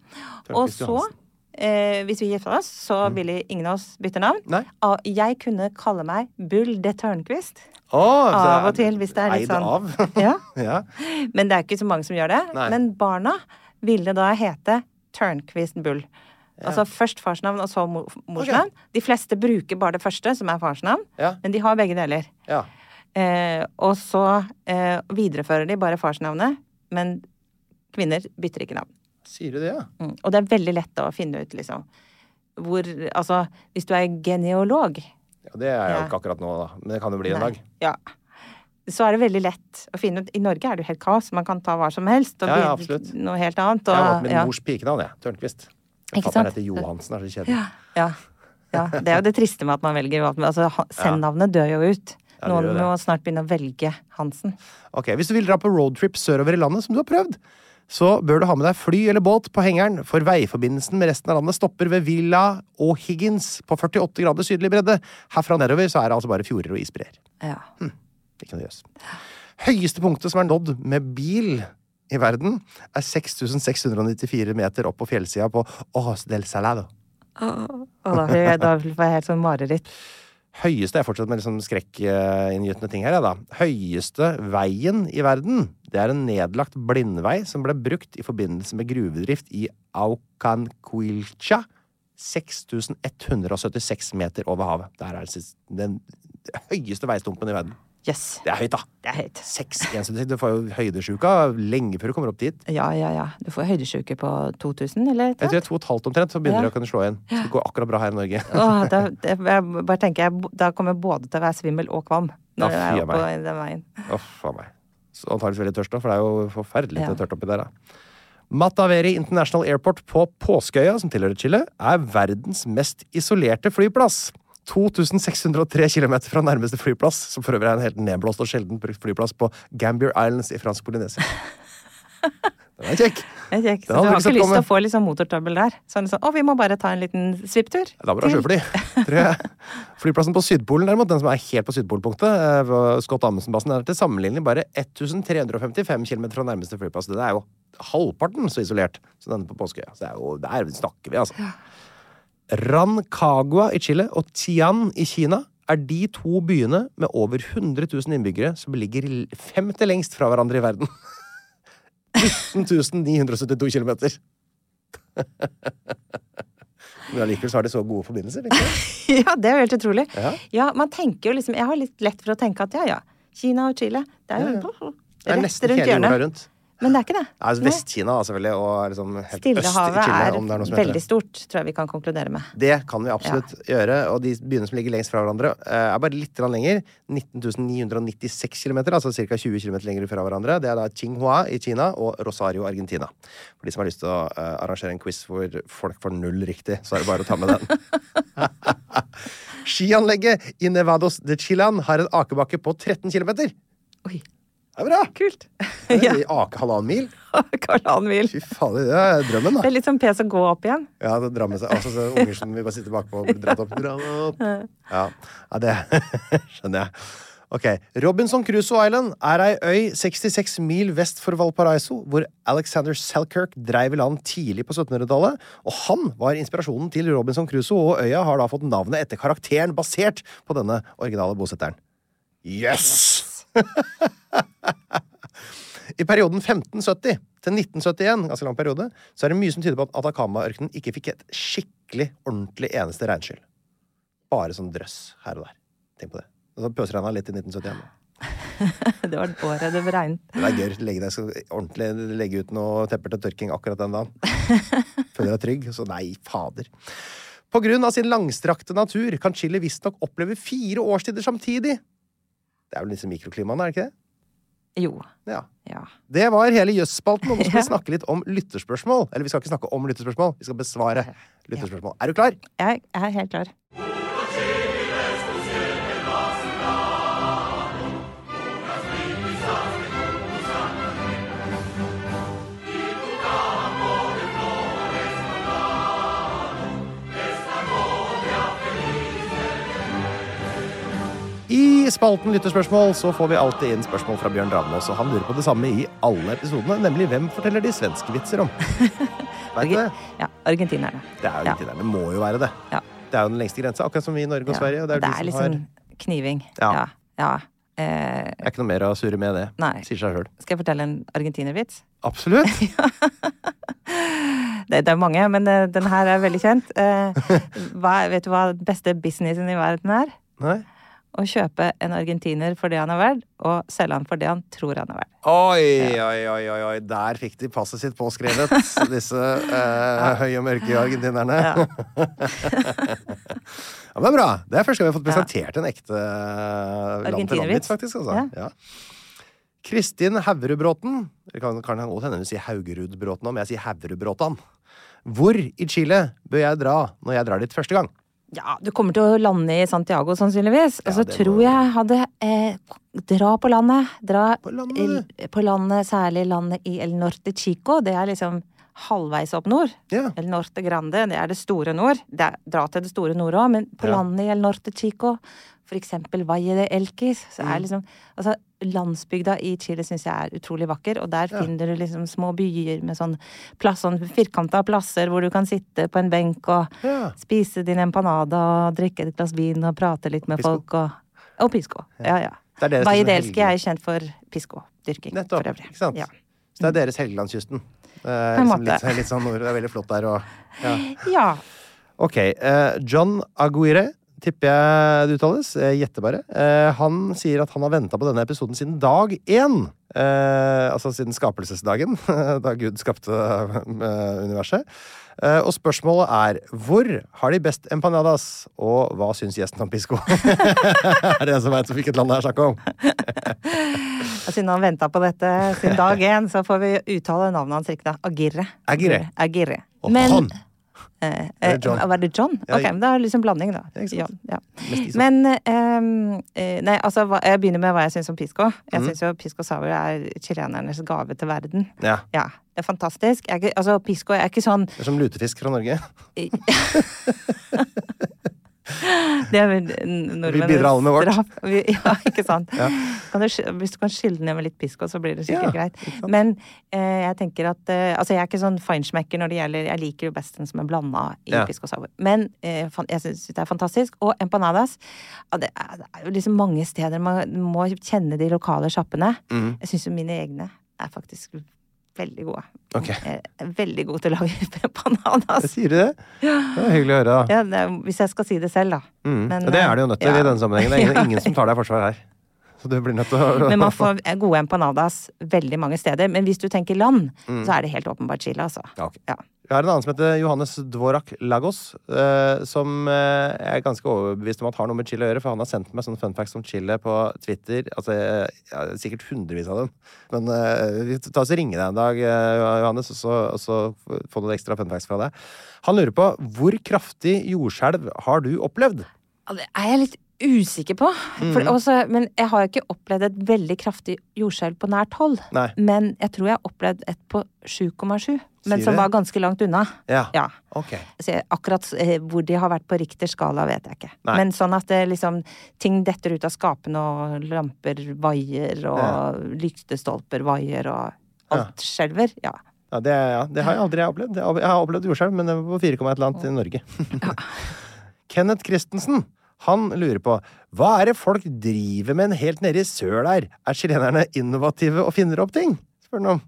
S2: Og
S1: Tørnquist
S2: så,
S1: Johansen.
S2: eh, hvis vi gifta oss, så ville ingen av oss bytte navn.
S1: Mm. Nei.
S2: Ah, Jeg kunne kalle meg Bull de Tørnquist.
S1: Å, så
S2: Av og til, hvis det er litt
S1: Altså,
S2: sånn.
S1: eid av.
S2: Ja.
S1: ja.
S2: Men det er ikke så mange som gjør det.
S1: Nei.
S2: Men barna ville da hete Tørnquist Bull. Altså først farsnavn og så mo-
S1: Ok.
S2: morsnavn. De fleste bruker bare det første, som er farsnavn,
S1: Ja.
S2: men de har begge deler.
S1: ja.
S2: Eh, og så eh, viderefører de bare farsnavnet, men kvinner bytter ikke navn.
S1: Sier du det, ja?
S2: Mm. Og det er veldig lett å finne ut, liksom. Hvor Altså, hvis du er geneolog,
S1: ja? Det er jeg jo
S2: Ja.
S1: ikke akkurat nå, da. Men det kan jo bli en
S2: Nei.
S1: dag.
S2: Ja. Så er det veldig lett å finne ut I Norge er det jo helt kaos. Man kan ta hva som helst og
S1: Ja, ja,
S2: bli
S1: absolutt.
S2: noe helt annet.
S1: Jeg har valgt
S2: Og,
S1: min
S2: ja.
S1: mors pikenavn, jeg. Tørnquist.
S2: Ikke
S1: Fatter'n
S2: sant?
S1: heter Johansen, det er så kjedelig.
S2: ja. ja. Det er jo det triste med at man velger valgt- men altså, han- Send-navnet dør jo ut.
S1: det
S2: Noen
S1: gjør det.
S2: må snart begynne å velge Hansen.
S1: Ok, Hvis du vil dra på roadtrip sørover i landet, som du har prøvd, så bør du ha med deg fly eller båt på hengeren, for veiforbindelsen med resten av landet stopper ved Villa O'Higgins på 48 grader sydlig bredde. Herfra nedover så er det altså bare fjorder og isbreer.
S2: Ja.
S1: Mm. Ikke noe jøss. Høyeste punktet som er nådd med bil i verden, er 6694 meter opp på fjellsida på Ojos del Salado.
S2: Og da blir jeg, da blir jeg helt sånn mareritt.
S1: Høyeste Jeg fortsetter med liksom skrekkinngytende ting her. jeg, Da. Høyeste veien i verden det er en nedlagt blindvei som ble brukt i forbindelse med gruvedrift i Aucanquilcha. 6176 meter over havet. Der er det sist- den høyeste veistumpen i verden.
S2: Jøss.
S1: Det er høyt, da!
S2: Det er høyt.
S1: 6176. Du får jo høydesjuka lenge før du kommer opp dit.
S2: Ja, ja, ja. Du får høydesjuke på 2000, eller?
S1: Jeg tror det er to og et halvt omtrent, så
S2: Ja.
S1: begynner det å kunne slå igjen. Så det går akkurat bra her i Norge.
S2: Åh, da, det, jeg bare tenker jeg, bo- da kommer jeg både til å være svimmel og kvalm.
S1: Ja,
S2: Når jeg
S1: fy
S2: er
S1: a
S2: på
S1: meg.
S2: den veien.
S1: Å, faen meg. Så antakeligvis veldig tørst nå, for det er jo forferdelig
S2: Ja.
S1: tørt oppi der, da. Mataveri International Airport på Påskeøya, som tilhører Chile, er verdens mest isolerte flyplass. 2603 km fra nærmeste flyplass, som for øvrig er en helt nedblåst og sjelden brukt flyplass på Gambier Islands i fransk Polynesia. Den er kjekk!
S2: Jeg vet ikke, så du
S1: Det hadde du
S2: har
S1: ikke sett
S2: ikke lyst til
S1: komme.
S2: å få litt sånn motortrøbbel der. Sånn sånn, å, vi må bare ta en liten svipptur.
S1: Da må du ha
S2: til».
S1: sjøfly, tror jeg. Flyplassen på Sydpolen, derimot, den som er helt på Sydpolpunktet, eh, ved Scott Amundsen-basen, er til sammenligning bare 1355 km fra nærmeste flyplass. Den er jo halvparten så isolert som denne på Påskeøya. Så det er jo, der snakker vi, altså. Rancagua i Chile og Tian i Kina er de to byene med over 100 000 innbyggere som ligger l- femte lengst fra hverandre i verden. 19 972 kilometer. Men allikevel så har de så gode forbindelser. Ikke? sant?
S2: Ja, det er jo helt utrolig.
S1: Ja.
S2: Ja. man tenker jo liksom Jeg har litt lett for å tenke at ja, ja, Kina og Chile, det er jo
S1: Det er
S2: rett
S1: nesten
S2: rundt
S1: hele jorda
S2: hjørnet.
S1: rundt.
S2: Men det er ikke det.
S1: Ja, altså
S2: Nei.
S1: Vest-Kina da, selvfølgelig, og liksom helt øst i
S2: Stillehavet
S1: Chile.
S2: er,
S1: om det er noe som heter
S2: veldig
S1: det.
S2: stort, tror jeg vi kan konkludere med.
S1: Det kan vi absolutt gjøre. Og de byene som ligger lengst fra hverandre, eh, er bare litt grann lenger. 19.996 km, altså ca. 20 km lenger fra hverandre. Det er da Qinghua i Kina og Rosario, Argentina. For de som har lyst til å eh, arrangere en quiz hvor folk får null riktig, så er det bare å ta med den. Skianlegget i Nevados de Chilan har en akebakke på 13 km.
S2: Oi,
S1: Det er bra!
S2: kult!
S1: Det
S2: ja,
S1: er Ake halvannen mil.
S2: Karl Johan Wiel.
S1: Fy fader, det er drømmen,
S2: Det
S1: da.
S2: er litt sånn pes å gå opp igjen.
S1: Ja, det drar med seg altså, så unger som vil bare sitte bakpå og bli dratt opp. Dra meg opp. Ja, ja det skjønner jeg. Ok, Robinson Crusoe Island er ei øy 66 mil vest for Valparaiso, hvor Alexander Selkirk dreiv i land tidlig på 1700-tallet. Og han var inspirasjonen til Robinson Crusoe, og øya har da fått navnet etter karakteren basert på denne originale bosetteren. Yes! I perioden 1570 til 1971, ganske lang periode, så er det mye som tyder på at Atacama-ørkenen ikke fikk et skikkelig, ordentlig eneste regnskyll. bare sånn drøss her og der. Tenk på det. Og så pøsregna litt i 1971. da.
S2: det var året det regnet.
S1: Det er gøy å legge deg skal ordentlig legge ut noe tepper til tørking akkurat den dagen. Føler deg trygg. Så nei, fader. På grunn av sin langstrakte natur kan chili visstnok oppleve fire årstider samtidig. Det er vel disse mikroklimaene, er det ikke det?
S2: Jo.
S1: Ja.
S2: Ja.
S1: Det var hele Jøss-spalten. og Nå skal vi snakke litt om lytterspørsmål. Eller vi skal ikke snakke om lytterspørsmål, vi skal besvare lytterspørsmål. Er du klar?
S2: Jeg er helt klar.
S1: I spalten Lytterspørsmål så får vi alltid inn spørsmål fra Bjørn Dravnås, og han lurer på det samme i alle episodene, nemlig hvem forteller de svenske vitser om? Vet du det?
S2: Ja, argentinerne.
S1: Det er jo
S2: Ja.
S1: litt i det, det må jo være det.
S2: Ja.
S1: Det er jo den lengste grensa, akkurat som vi i Norge
S2: Ja.
S1: og Sverige. Og det er, jo de som
S2: liksom
S1: har...
S2: kniving.
S1: Ja.
S2: Ja. ja. Eh,
S1: Det er ikke noe mer å surre med det.
S2: Nei.
S1: Sier seg sjøl.
S2: skal jeg fortelle en argentinervits?
S1: Absolutt.
S2: Det, det er mange, men eh, den her er veldig kjent. Eh, hva, vet du hva den beste businessen i verden er?
S1: Nei.
S2: Å kjøpe en argentiner for det han er verd, og selge han for det han tror han er verd.
S1: Oi, oi, oi, oi, oi. Der fikk de passet sitt påskrevet, disse eh, høye og mørke argentinerne. Ja. men det er bra. Det er første gang vi har fått presentert en ekte eh, land-til-land-vits,
S2: Argentinervits.
S1: faktisk. Altså. Ja. Kristin Havrudbråten eller Kan, kan han godt hende hun sier Haugerudbråten om jeg sier Havrudbråtan. Hvor i Chile bør jeg dra når jeg drar dit første gang?
S2: Ja, du kommer til å lande i Santiago sannsynligvis. Og så
S1: det må
S2: tror
S1: du.
S2: jeg hadde eh, Dra på landet. Dra
S1: På landet?
S2: i- på landet, særlig landet i El Norte Chico. Det er liksom halvveis opp nord.
S1: Ja.
S2: El Norte Grande, det er det store nord. Det er, dra til det store nord òg, men på
S1: Ja.
S2: landet i El Norte Chico, for eksempel Valle de Elquis, så
S1: Mm.
S2: er liksom Altså, landsbygda i Chile syns jeg er utrolig vakker, og der finner du liksom små byer med sånn plass, sånn firkanta plasser hvor du kan sitte på en benk og
S1: Ja.
S2: spise din empanada og drikke et glass vin og prate litt med
S1: Pisco.
S2: folk og Og pisco. Ja, ja.
S1: Det er deres
S2: Valle
S1: liksom
S2: de Elqui
S1: helge-
S2: er jo kjent for pisco-dyrking,
S1: Nettopp.
S2: for øvrig.
S1: Ikke sant?
S2: Ja.
S1: Så det er deres Helgelandskysten. På
S2: en
S1: liksom litt,
S2: måte.
S1: litt sånn nord. Det er veldig flott der. og... Ja.
S2: ja.
S1: Ok. eh, John Aguirre tipper jeg det uttales. Jeg gjetter bare. Eh, han sier at han har venta på denne episoden siden dag én. Eh, altså siden skapelsesdagen, da Gud skapte eh, universet. Eh, og spørsmålet er hvor har de best empanadas, og hva syns gjesten om pisco? er det en som veit hvilket land det er snakk om?
S2: Og siden han venta på dette siden dag én, så får vi uttale navnet hans riktig. da. Agirre.
S1: Agirre.
S2: Agirre.
S1: Og han!
S2: eh,
S1: Er
S2: eh,
S1: det John?
S2: Var det John?
S1: Ja,
S2: Ok, men det er liksom blanding, da.
S1: Ja, ikke sant?
S2: John, ja.
S1: Mest iso.
S2: Men ehm, eh, Nei, altså, hva, jeg begynner med hva jeg syns om pisco. Jeg
S1: Mhm.
S2: syns jo pisco sour er chilenernes gave til verden.
S1: Ja.
S2: Ja, det er fantastisk. Jeg, er ikke- altså, pisco er ikke sånn
S1: Det er som lutefisk fra Norge.
S2: Det er vel n- nordmenn
S1: bidrar alle med vårt.
S2: straff. Vi, ja, ikke sant. Kan du, sk- hvis du kan skylle ned med litt pisk, også, så blir det sikkert
S1: Ja,
S2: greit. Men eh, jeg tenker at eh, Altså, jeg er ikke sånn feinschmecker når det gjelder Jeg liker jo best den som er blanda i
S1: Ja.
S2: pisk og sour. Men eh, fan- jeg syns det er fantastisk. Og empanadas. Ja, det, er, det er jo liksom mange steder man må kjenne de lokale sjappene.
S1: Mm.
S2: Jeg syns jo mine egne er faktisk veldig gode.
S1: Ok.
S2: Jeg er veldig god til å lage empanadas.
S1: Sier de det? Det er hyggelig å høre. da.
S2: Ja, det er, hvis jeg skal si det selv, da. Men,
S1: Mm.
S2: eh,
S1: Ja, det er det jo nødt til
S2: ja.
S1: i denne sammenhengen. Det er ingen,
S2: Ja.
S1: ingen som tar deg i forsvar her. Så du blir nødt til å
S2: Men man får gode empanadas veldig mange steder. Men hvis du tenker land,
S1: Mm.
S2: så er det helt åpenbart Chile, altså.
S1: Ja, ok.
S2: Ja.
S1: Vi har en annen som heter Johannes Dvorak Lagos, eh, som eh, jeg er ganske overbevist om at har noe med Chile å gjøre, for han har sendt meg sånne fun facts om Chile på Twitter. Altså, eh, ja, sikkert hundrevis av dem. Men eh, vi tar oss og ringer deg en dag, eh, Johannes, og så, og så får du noen ekstra fun facts fra deg. Han lurer på hvor kraftig jordskjelv har du opplevd?
S2: Ja, Det er jeg litt usikker på. For
S1: Mm.
S2: også, men jeg har ikke opplevd et veldig kraftig jordskjelv på nært hold.
S1: Nei.
S2: Men jeg tror jeg har opplevd et på 7,7.
S1: Sier
S2: Men som
S1: det?
S2: var ganske langt unna.
S1: Ja.
S2: Ja.
S1: Ok.
S2: Så jeg, akkurat eh, hvor de har vært på riktig skala, vet jeg ikke.
S1: Nei.
S2: Men sånn at det, liksom, ting detter ut av skapene, og lamper vaier, og lyktestolper vaier, og alt skjelver. Ja.
S1: Ja, det, ja, det har jeg aldri opplevd. Jeg har- Jeg har opplevd jordskjelv, men det var på 4,1 eller annet i Norge. Kenneth Christensen han lurer på hva er det folk driver med en helt nede i sør der? Er chilenerne innovative og finner opp ting? spør han om.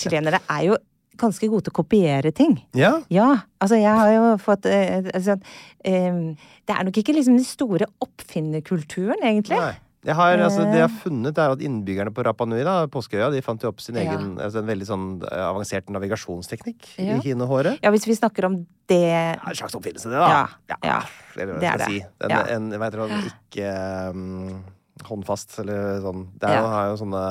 S2: Chilenere er jo ganske god til å kopiere ting.
S1: Ja?
S2: Ja, altså jeg har jo fått eh, altså, eh, Det er nok ikke liksom den store oppfinnerkulturen, egentlig.
S1: Nei. Jeg har, altså, det jeg har funnet, er at innbyggerne på Rapa Nui, da, Påskeøya, de fant jo opp sin
S2: Eh. Ja.
S1: egen altså, en veldig sånn eh, avansert navigasjonsteknikk
S2: Ja.
S1: i hinehåret.
S2: Ja, hvis vi snakker om det
S1: Ja, en slags oppfinnelse, det, da.
S2: Ja, ja.
S1: Eller hva
S2: Det er
S1: jeg skal
S2: det.
S1: si. En,
S2: Ja.
S1: en, jeg vet ikke om ikke um, håndfast eller sånn. Det
S2: Ja.
S1: er, jo, har jo sånne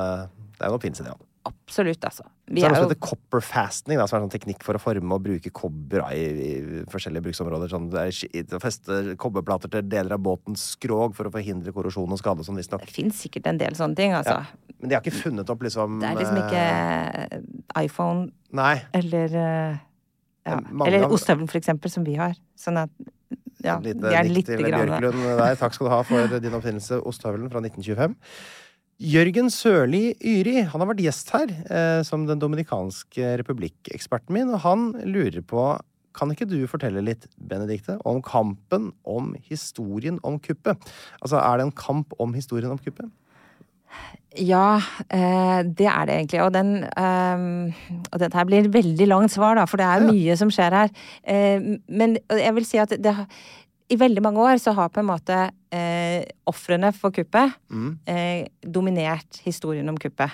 S1: det er jo en oppfinnelse, det òg.
S2: Absolutt, altså. Vi
S1: Så er det
S2: er
S1: noe som
S2: jo
S1: heter copper fastening, da, som er en sånn teknikk for å forme og bruke kobber da, i, i forskjellige bruksområder. Sånn, det er ski- å feste kobberplater til deler av båtens skrog for å forhindre korrosjon og skade, sånn visstnok.
S2: Det fins sikkert en del sånne ting, altså.
S1: Men de har ikke funnet opp liksom
S2: Det er liksom
S1: eh,
S2: ikke iPhone
S1: Nei.
S2: eller eh, ja.
S1: Mange
S2: Eller
S1: av-
S2: ostehøvelen, for eksempel, som vi har. Sånn at ja,
S1: Lite
S2: vi er
S1: nikk
S2: lite
S1: til
S2: grann eh,
S1: Bjørklund der. Takk skal du ha for din oppfinnelse, Ostehøvelen fra 1925. Jørgen Sørli Yri han har vært gjest her eh, som den dominikanske republikkeksperten min, og han lurer på kan ikke du fortelle litt, Benedikte, om kampen om historien om kuppet? Altså, er det en kamp om historien om kuppet?
S2: Ja, eh, det er det egentlig. Og, den, ehm, og dette her blir et veldig langt svar, da, for det er mye som skjer her. Eh, men jeg vil si at det, har- i veldig mange år så har på en måte eh, ofrene for kuppet
S1: Mm.
S2: eh, dominert historien om kuppet.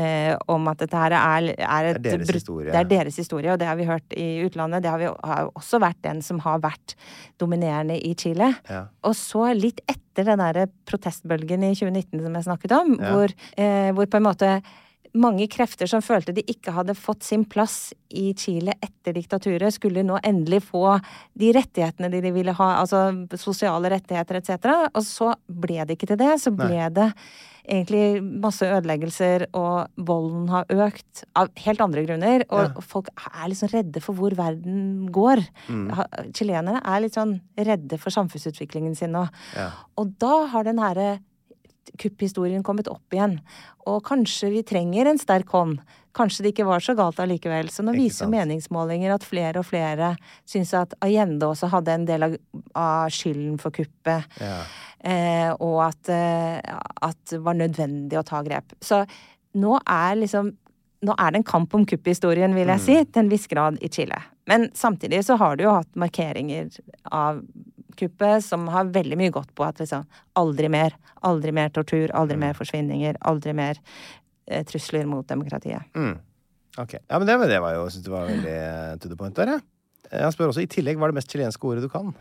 S2: Eh, om at dette her er, er et
S1: Det er deres
S2: brutt-
S1: historie.
S2: Det er deres historie, og det har vi hørt i utlandet. Det har, vi, har jo også vært den som har vært dominerende i Chile.
S1: Ja.
S2: Og så litt etter den derre protestbølgen i 2019 som jeg snakket om,
S1: Ja.
S2: hvor, eh, hvor på en måte mange krefter som følte de ikke hadde fått sin plass i Chile etter diktaturet, skulle nå endelig få de rettighetene de de ville ha, altså sosiale rettigheter etc. Og så ble det ikke til det. Så ble det egentlig masse ødeleggelser, og volden har økt av helt andre grunner. Og og folk er liksom redde for hvor verden går. Ha- Chilenere er litt sånn redde for samfunnsutviklingen sin nå. Og da har den herre kupphistorien kommet opp igjen. Og kanskje vi trenger en sterk hånd. Kanskje det ikke var så galt allikevel. Så nå
S1: Ikke
S2: viser
S1: sant.
S2: meningsmålinger at flere og flere syns at Allende også hadde en del av, av skylden for kuppet. Eh, og at, eh, at det var nødvendig å ta grep. Så nå er liksom nå er det en kamp om kupphistorien, vil jeg si, til en viss grad i Chile. Men samtidig så har du jo hatt markeringer av kuppet som har veldig mye godt på at liksom aldri mer, aldri mer tortur, aldri mer forsvinninger, aldri mer eh, trusler mot demokratiet.
S1: Ok. Ja, men det, det var jo, jeg synes det var veldig to the point der, jeg. Eh, Han spør også i tillegg hva er det mest chilenske ordet du kan?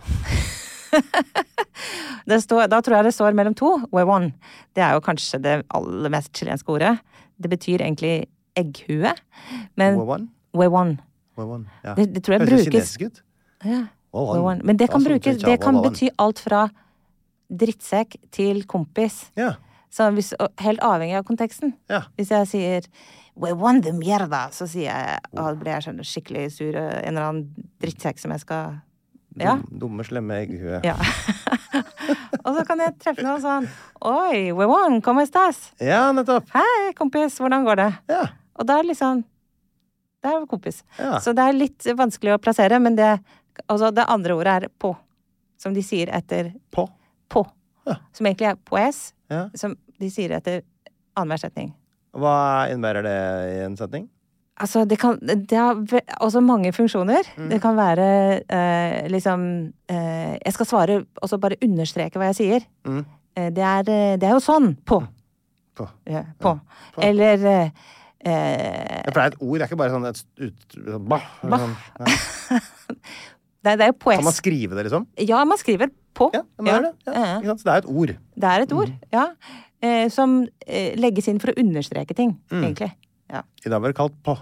S2: Det står, da tror jeg det står mellom to. Huevon. Det er jo kanskje det aller mest chilenske ordet. Det betyr egentlig egghue. Men
S1: Wawan?
S2: huevon.
S1: Wawan, Ja.
S2: Det- det tror jeg
S1: Høres
S2: brukes-
S1: kinesisk ut.
S2: Ja.
S1: Wawan.
S2: Wawan. Men det kan,
S1: Altså,
S2: brukes,
S1: tja,
S2: det kan
S1: wawan.
S2: bety alt fra drittsekk til kompis.
S1: Ja.
S2: Så hvis, og helt avhengig av konteksten.
S1: Ja.
S2: Hvis jeg sier We won the mierda, så sier jeg Da blir jeg sånn skikkelig sur. eh, En eller annen drittsekk som jeg skal Ja.
S1: Dum- Dumme, slemme egghue.
S2: ja. og så kan jeg treffe noen sånn Oi, we won, como estás?
S1: Ja, nettopp.
S2: Hei, kompis, hvordan går det?
S1: Ja.
S2: Og da er liksom Det er jo kompis.
S1: Ja.
S2: Så det er litt vanskelig å plassere, men det Altså, det andre ordet er på. Som de sier etter
S1: På.
S2: på.
S1: Ja.
S2: Som egentlig er poes,
S1: Ja.
S2: som de sier etter annenhver setning.
S1: Hva innebærer det i en setning?
S2: Altså, det kan Det har ve- også mange funksjoner.
S1: Mm.
S2: Det kan være eh, liksom eh, Jeg skal svare, og så bare understreke hva jeg sier. Eh, det, er, eh, det er jo sånn. På.
S1: Mm. På.
S2: Ja, på. Eller eh, eh,
S1: Ja, for det er et ord, det er ikke bare sånn et ut... Sånn, bah, eller
S2: Bah.
S1: sånn. Ja.
S2: Nei, det er jo poes.
S1: Kan man skrive det, liksom?
S2: Ja, man skriver på.
S1: Ja, men det er det. Ja. Mm.
S2: Ja.
S1: Ikke sant? Så det er et ord.
S2: Det er et ord, ja. Eh, som eh, legges inn for å understreke ting,
S1: Mm.
S2: egentlig. Ja.
S1: I dag var det kalt på.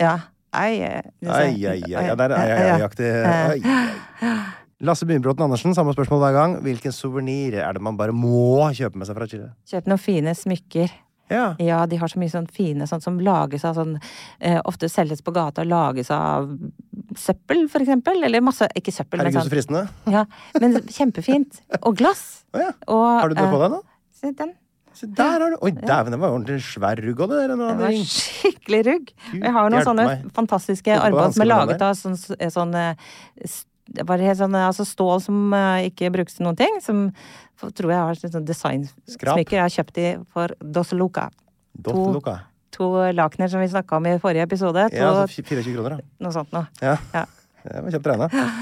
S2: ja. Ai, eh, det ser-
S1: Ai, ai, ai. Ja, der er ai, ai, ai-aktig. Ai, ai. Lasse Bynbråten Andersen, samme spørsmål hver gang. Hvilken suvenir er det man bare må kjøpe med seg fra Chile?
S2: Kjøp noen fine smykker.
S1: Ja.
S2: Ja, de har så mye sånn fine sånn som lages av sånn eh, Ofte selges på gata og lages av søppel, for eksempel. Eller masse Ikke søppel,
S1: Herregud,
S2: men
S1: så
S2: sånn.
S1: fristende.
S2: Ja, men kjempefint. Og glass.
S1: Å ja.
S2: Og,
S1: Har du det på
S2: eh,
S1: deg nå?
S2: Se den.
S1: Se der har du Oi, dæven, det var jo ordentlig svær rugg av det der.
S2: Det
S1: en
S2: var
S1: annen ring.
S2: skikkelig rugg. Og jeg har noen
S1: hjelpe
S2: sånne
S1: meg.
S2: fantastiske
S1: Håper
S2: armbånd som er
S1: hanskene er
S2: laget av sånn, sånn eh, s- bare helt sånn, eh, altså stål som eh, ikke brukes til noen ting. Som f- tror jeg har sånn
S1: Skrap.
S2: designsmykker jeg har kjøpt i for Dos Luca.
S1: Doft
S2: To-
S1: lukka.
S2: to lakener som vi snakka om i forrige episode. To,
S1: Ja, altså fi- 24 kroner, da.
S2: noe sånt noe.
S1: Ja.
S2: Ja.
S1: Det var kjapt regna.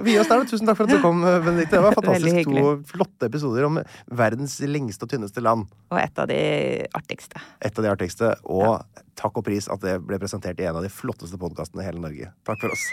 S1: Vi gir oss der, da. Tusen takk for at du kom, Benedicte. Det var
S2: Veldig
S1: fantastisk to
S2: hyggelig.
S1: flotte episoder om verdens lengste og tynneste land.
S2: Og et av de artigste.
S1: Et av de artigste. Og takk og pris at det ble presentert i en av de flotteste podkastene i hele Norge. Takk for oss.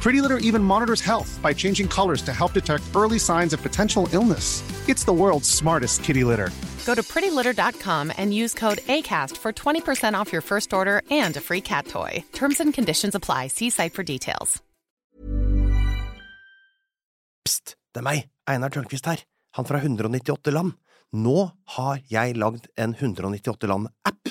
S3: Pretty Litter even monitors health by changing colors to help detect early signs of potential illness. It's the world's smartest kitty litter.
S4: Go to prettylitter.com and use code ACAST for 20% off your first order and a free cat toy. Terms and conditions apply. See site for details.
S1: Pst, det er meg, Einar Tørnquist her, han fra 198 land. Nå har jeg lagd en 198 land-app,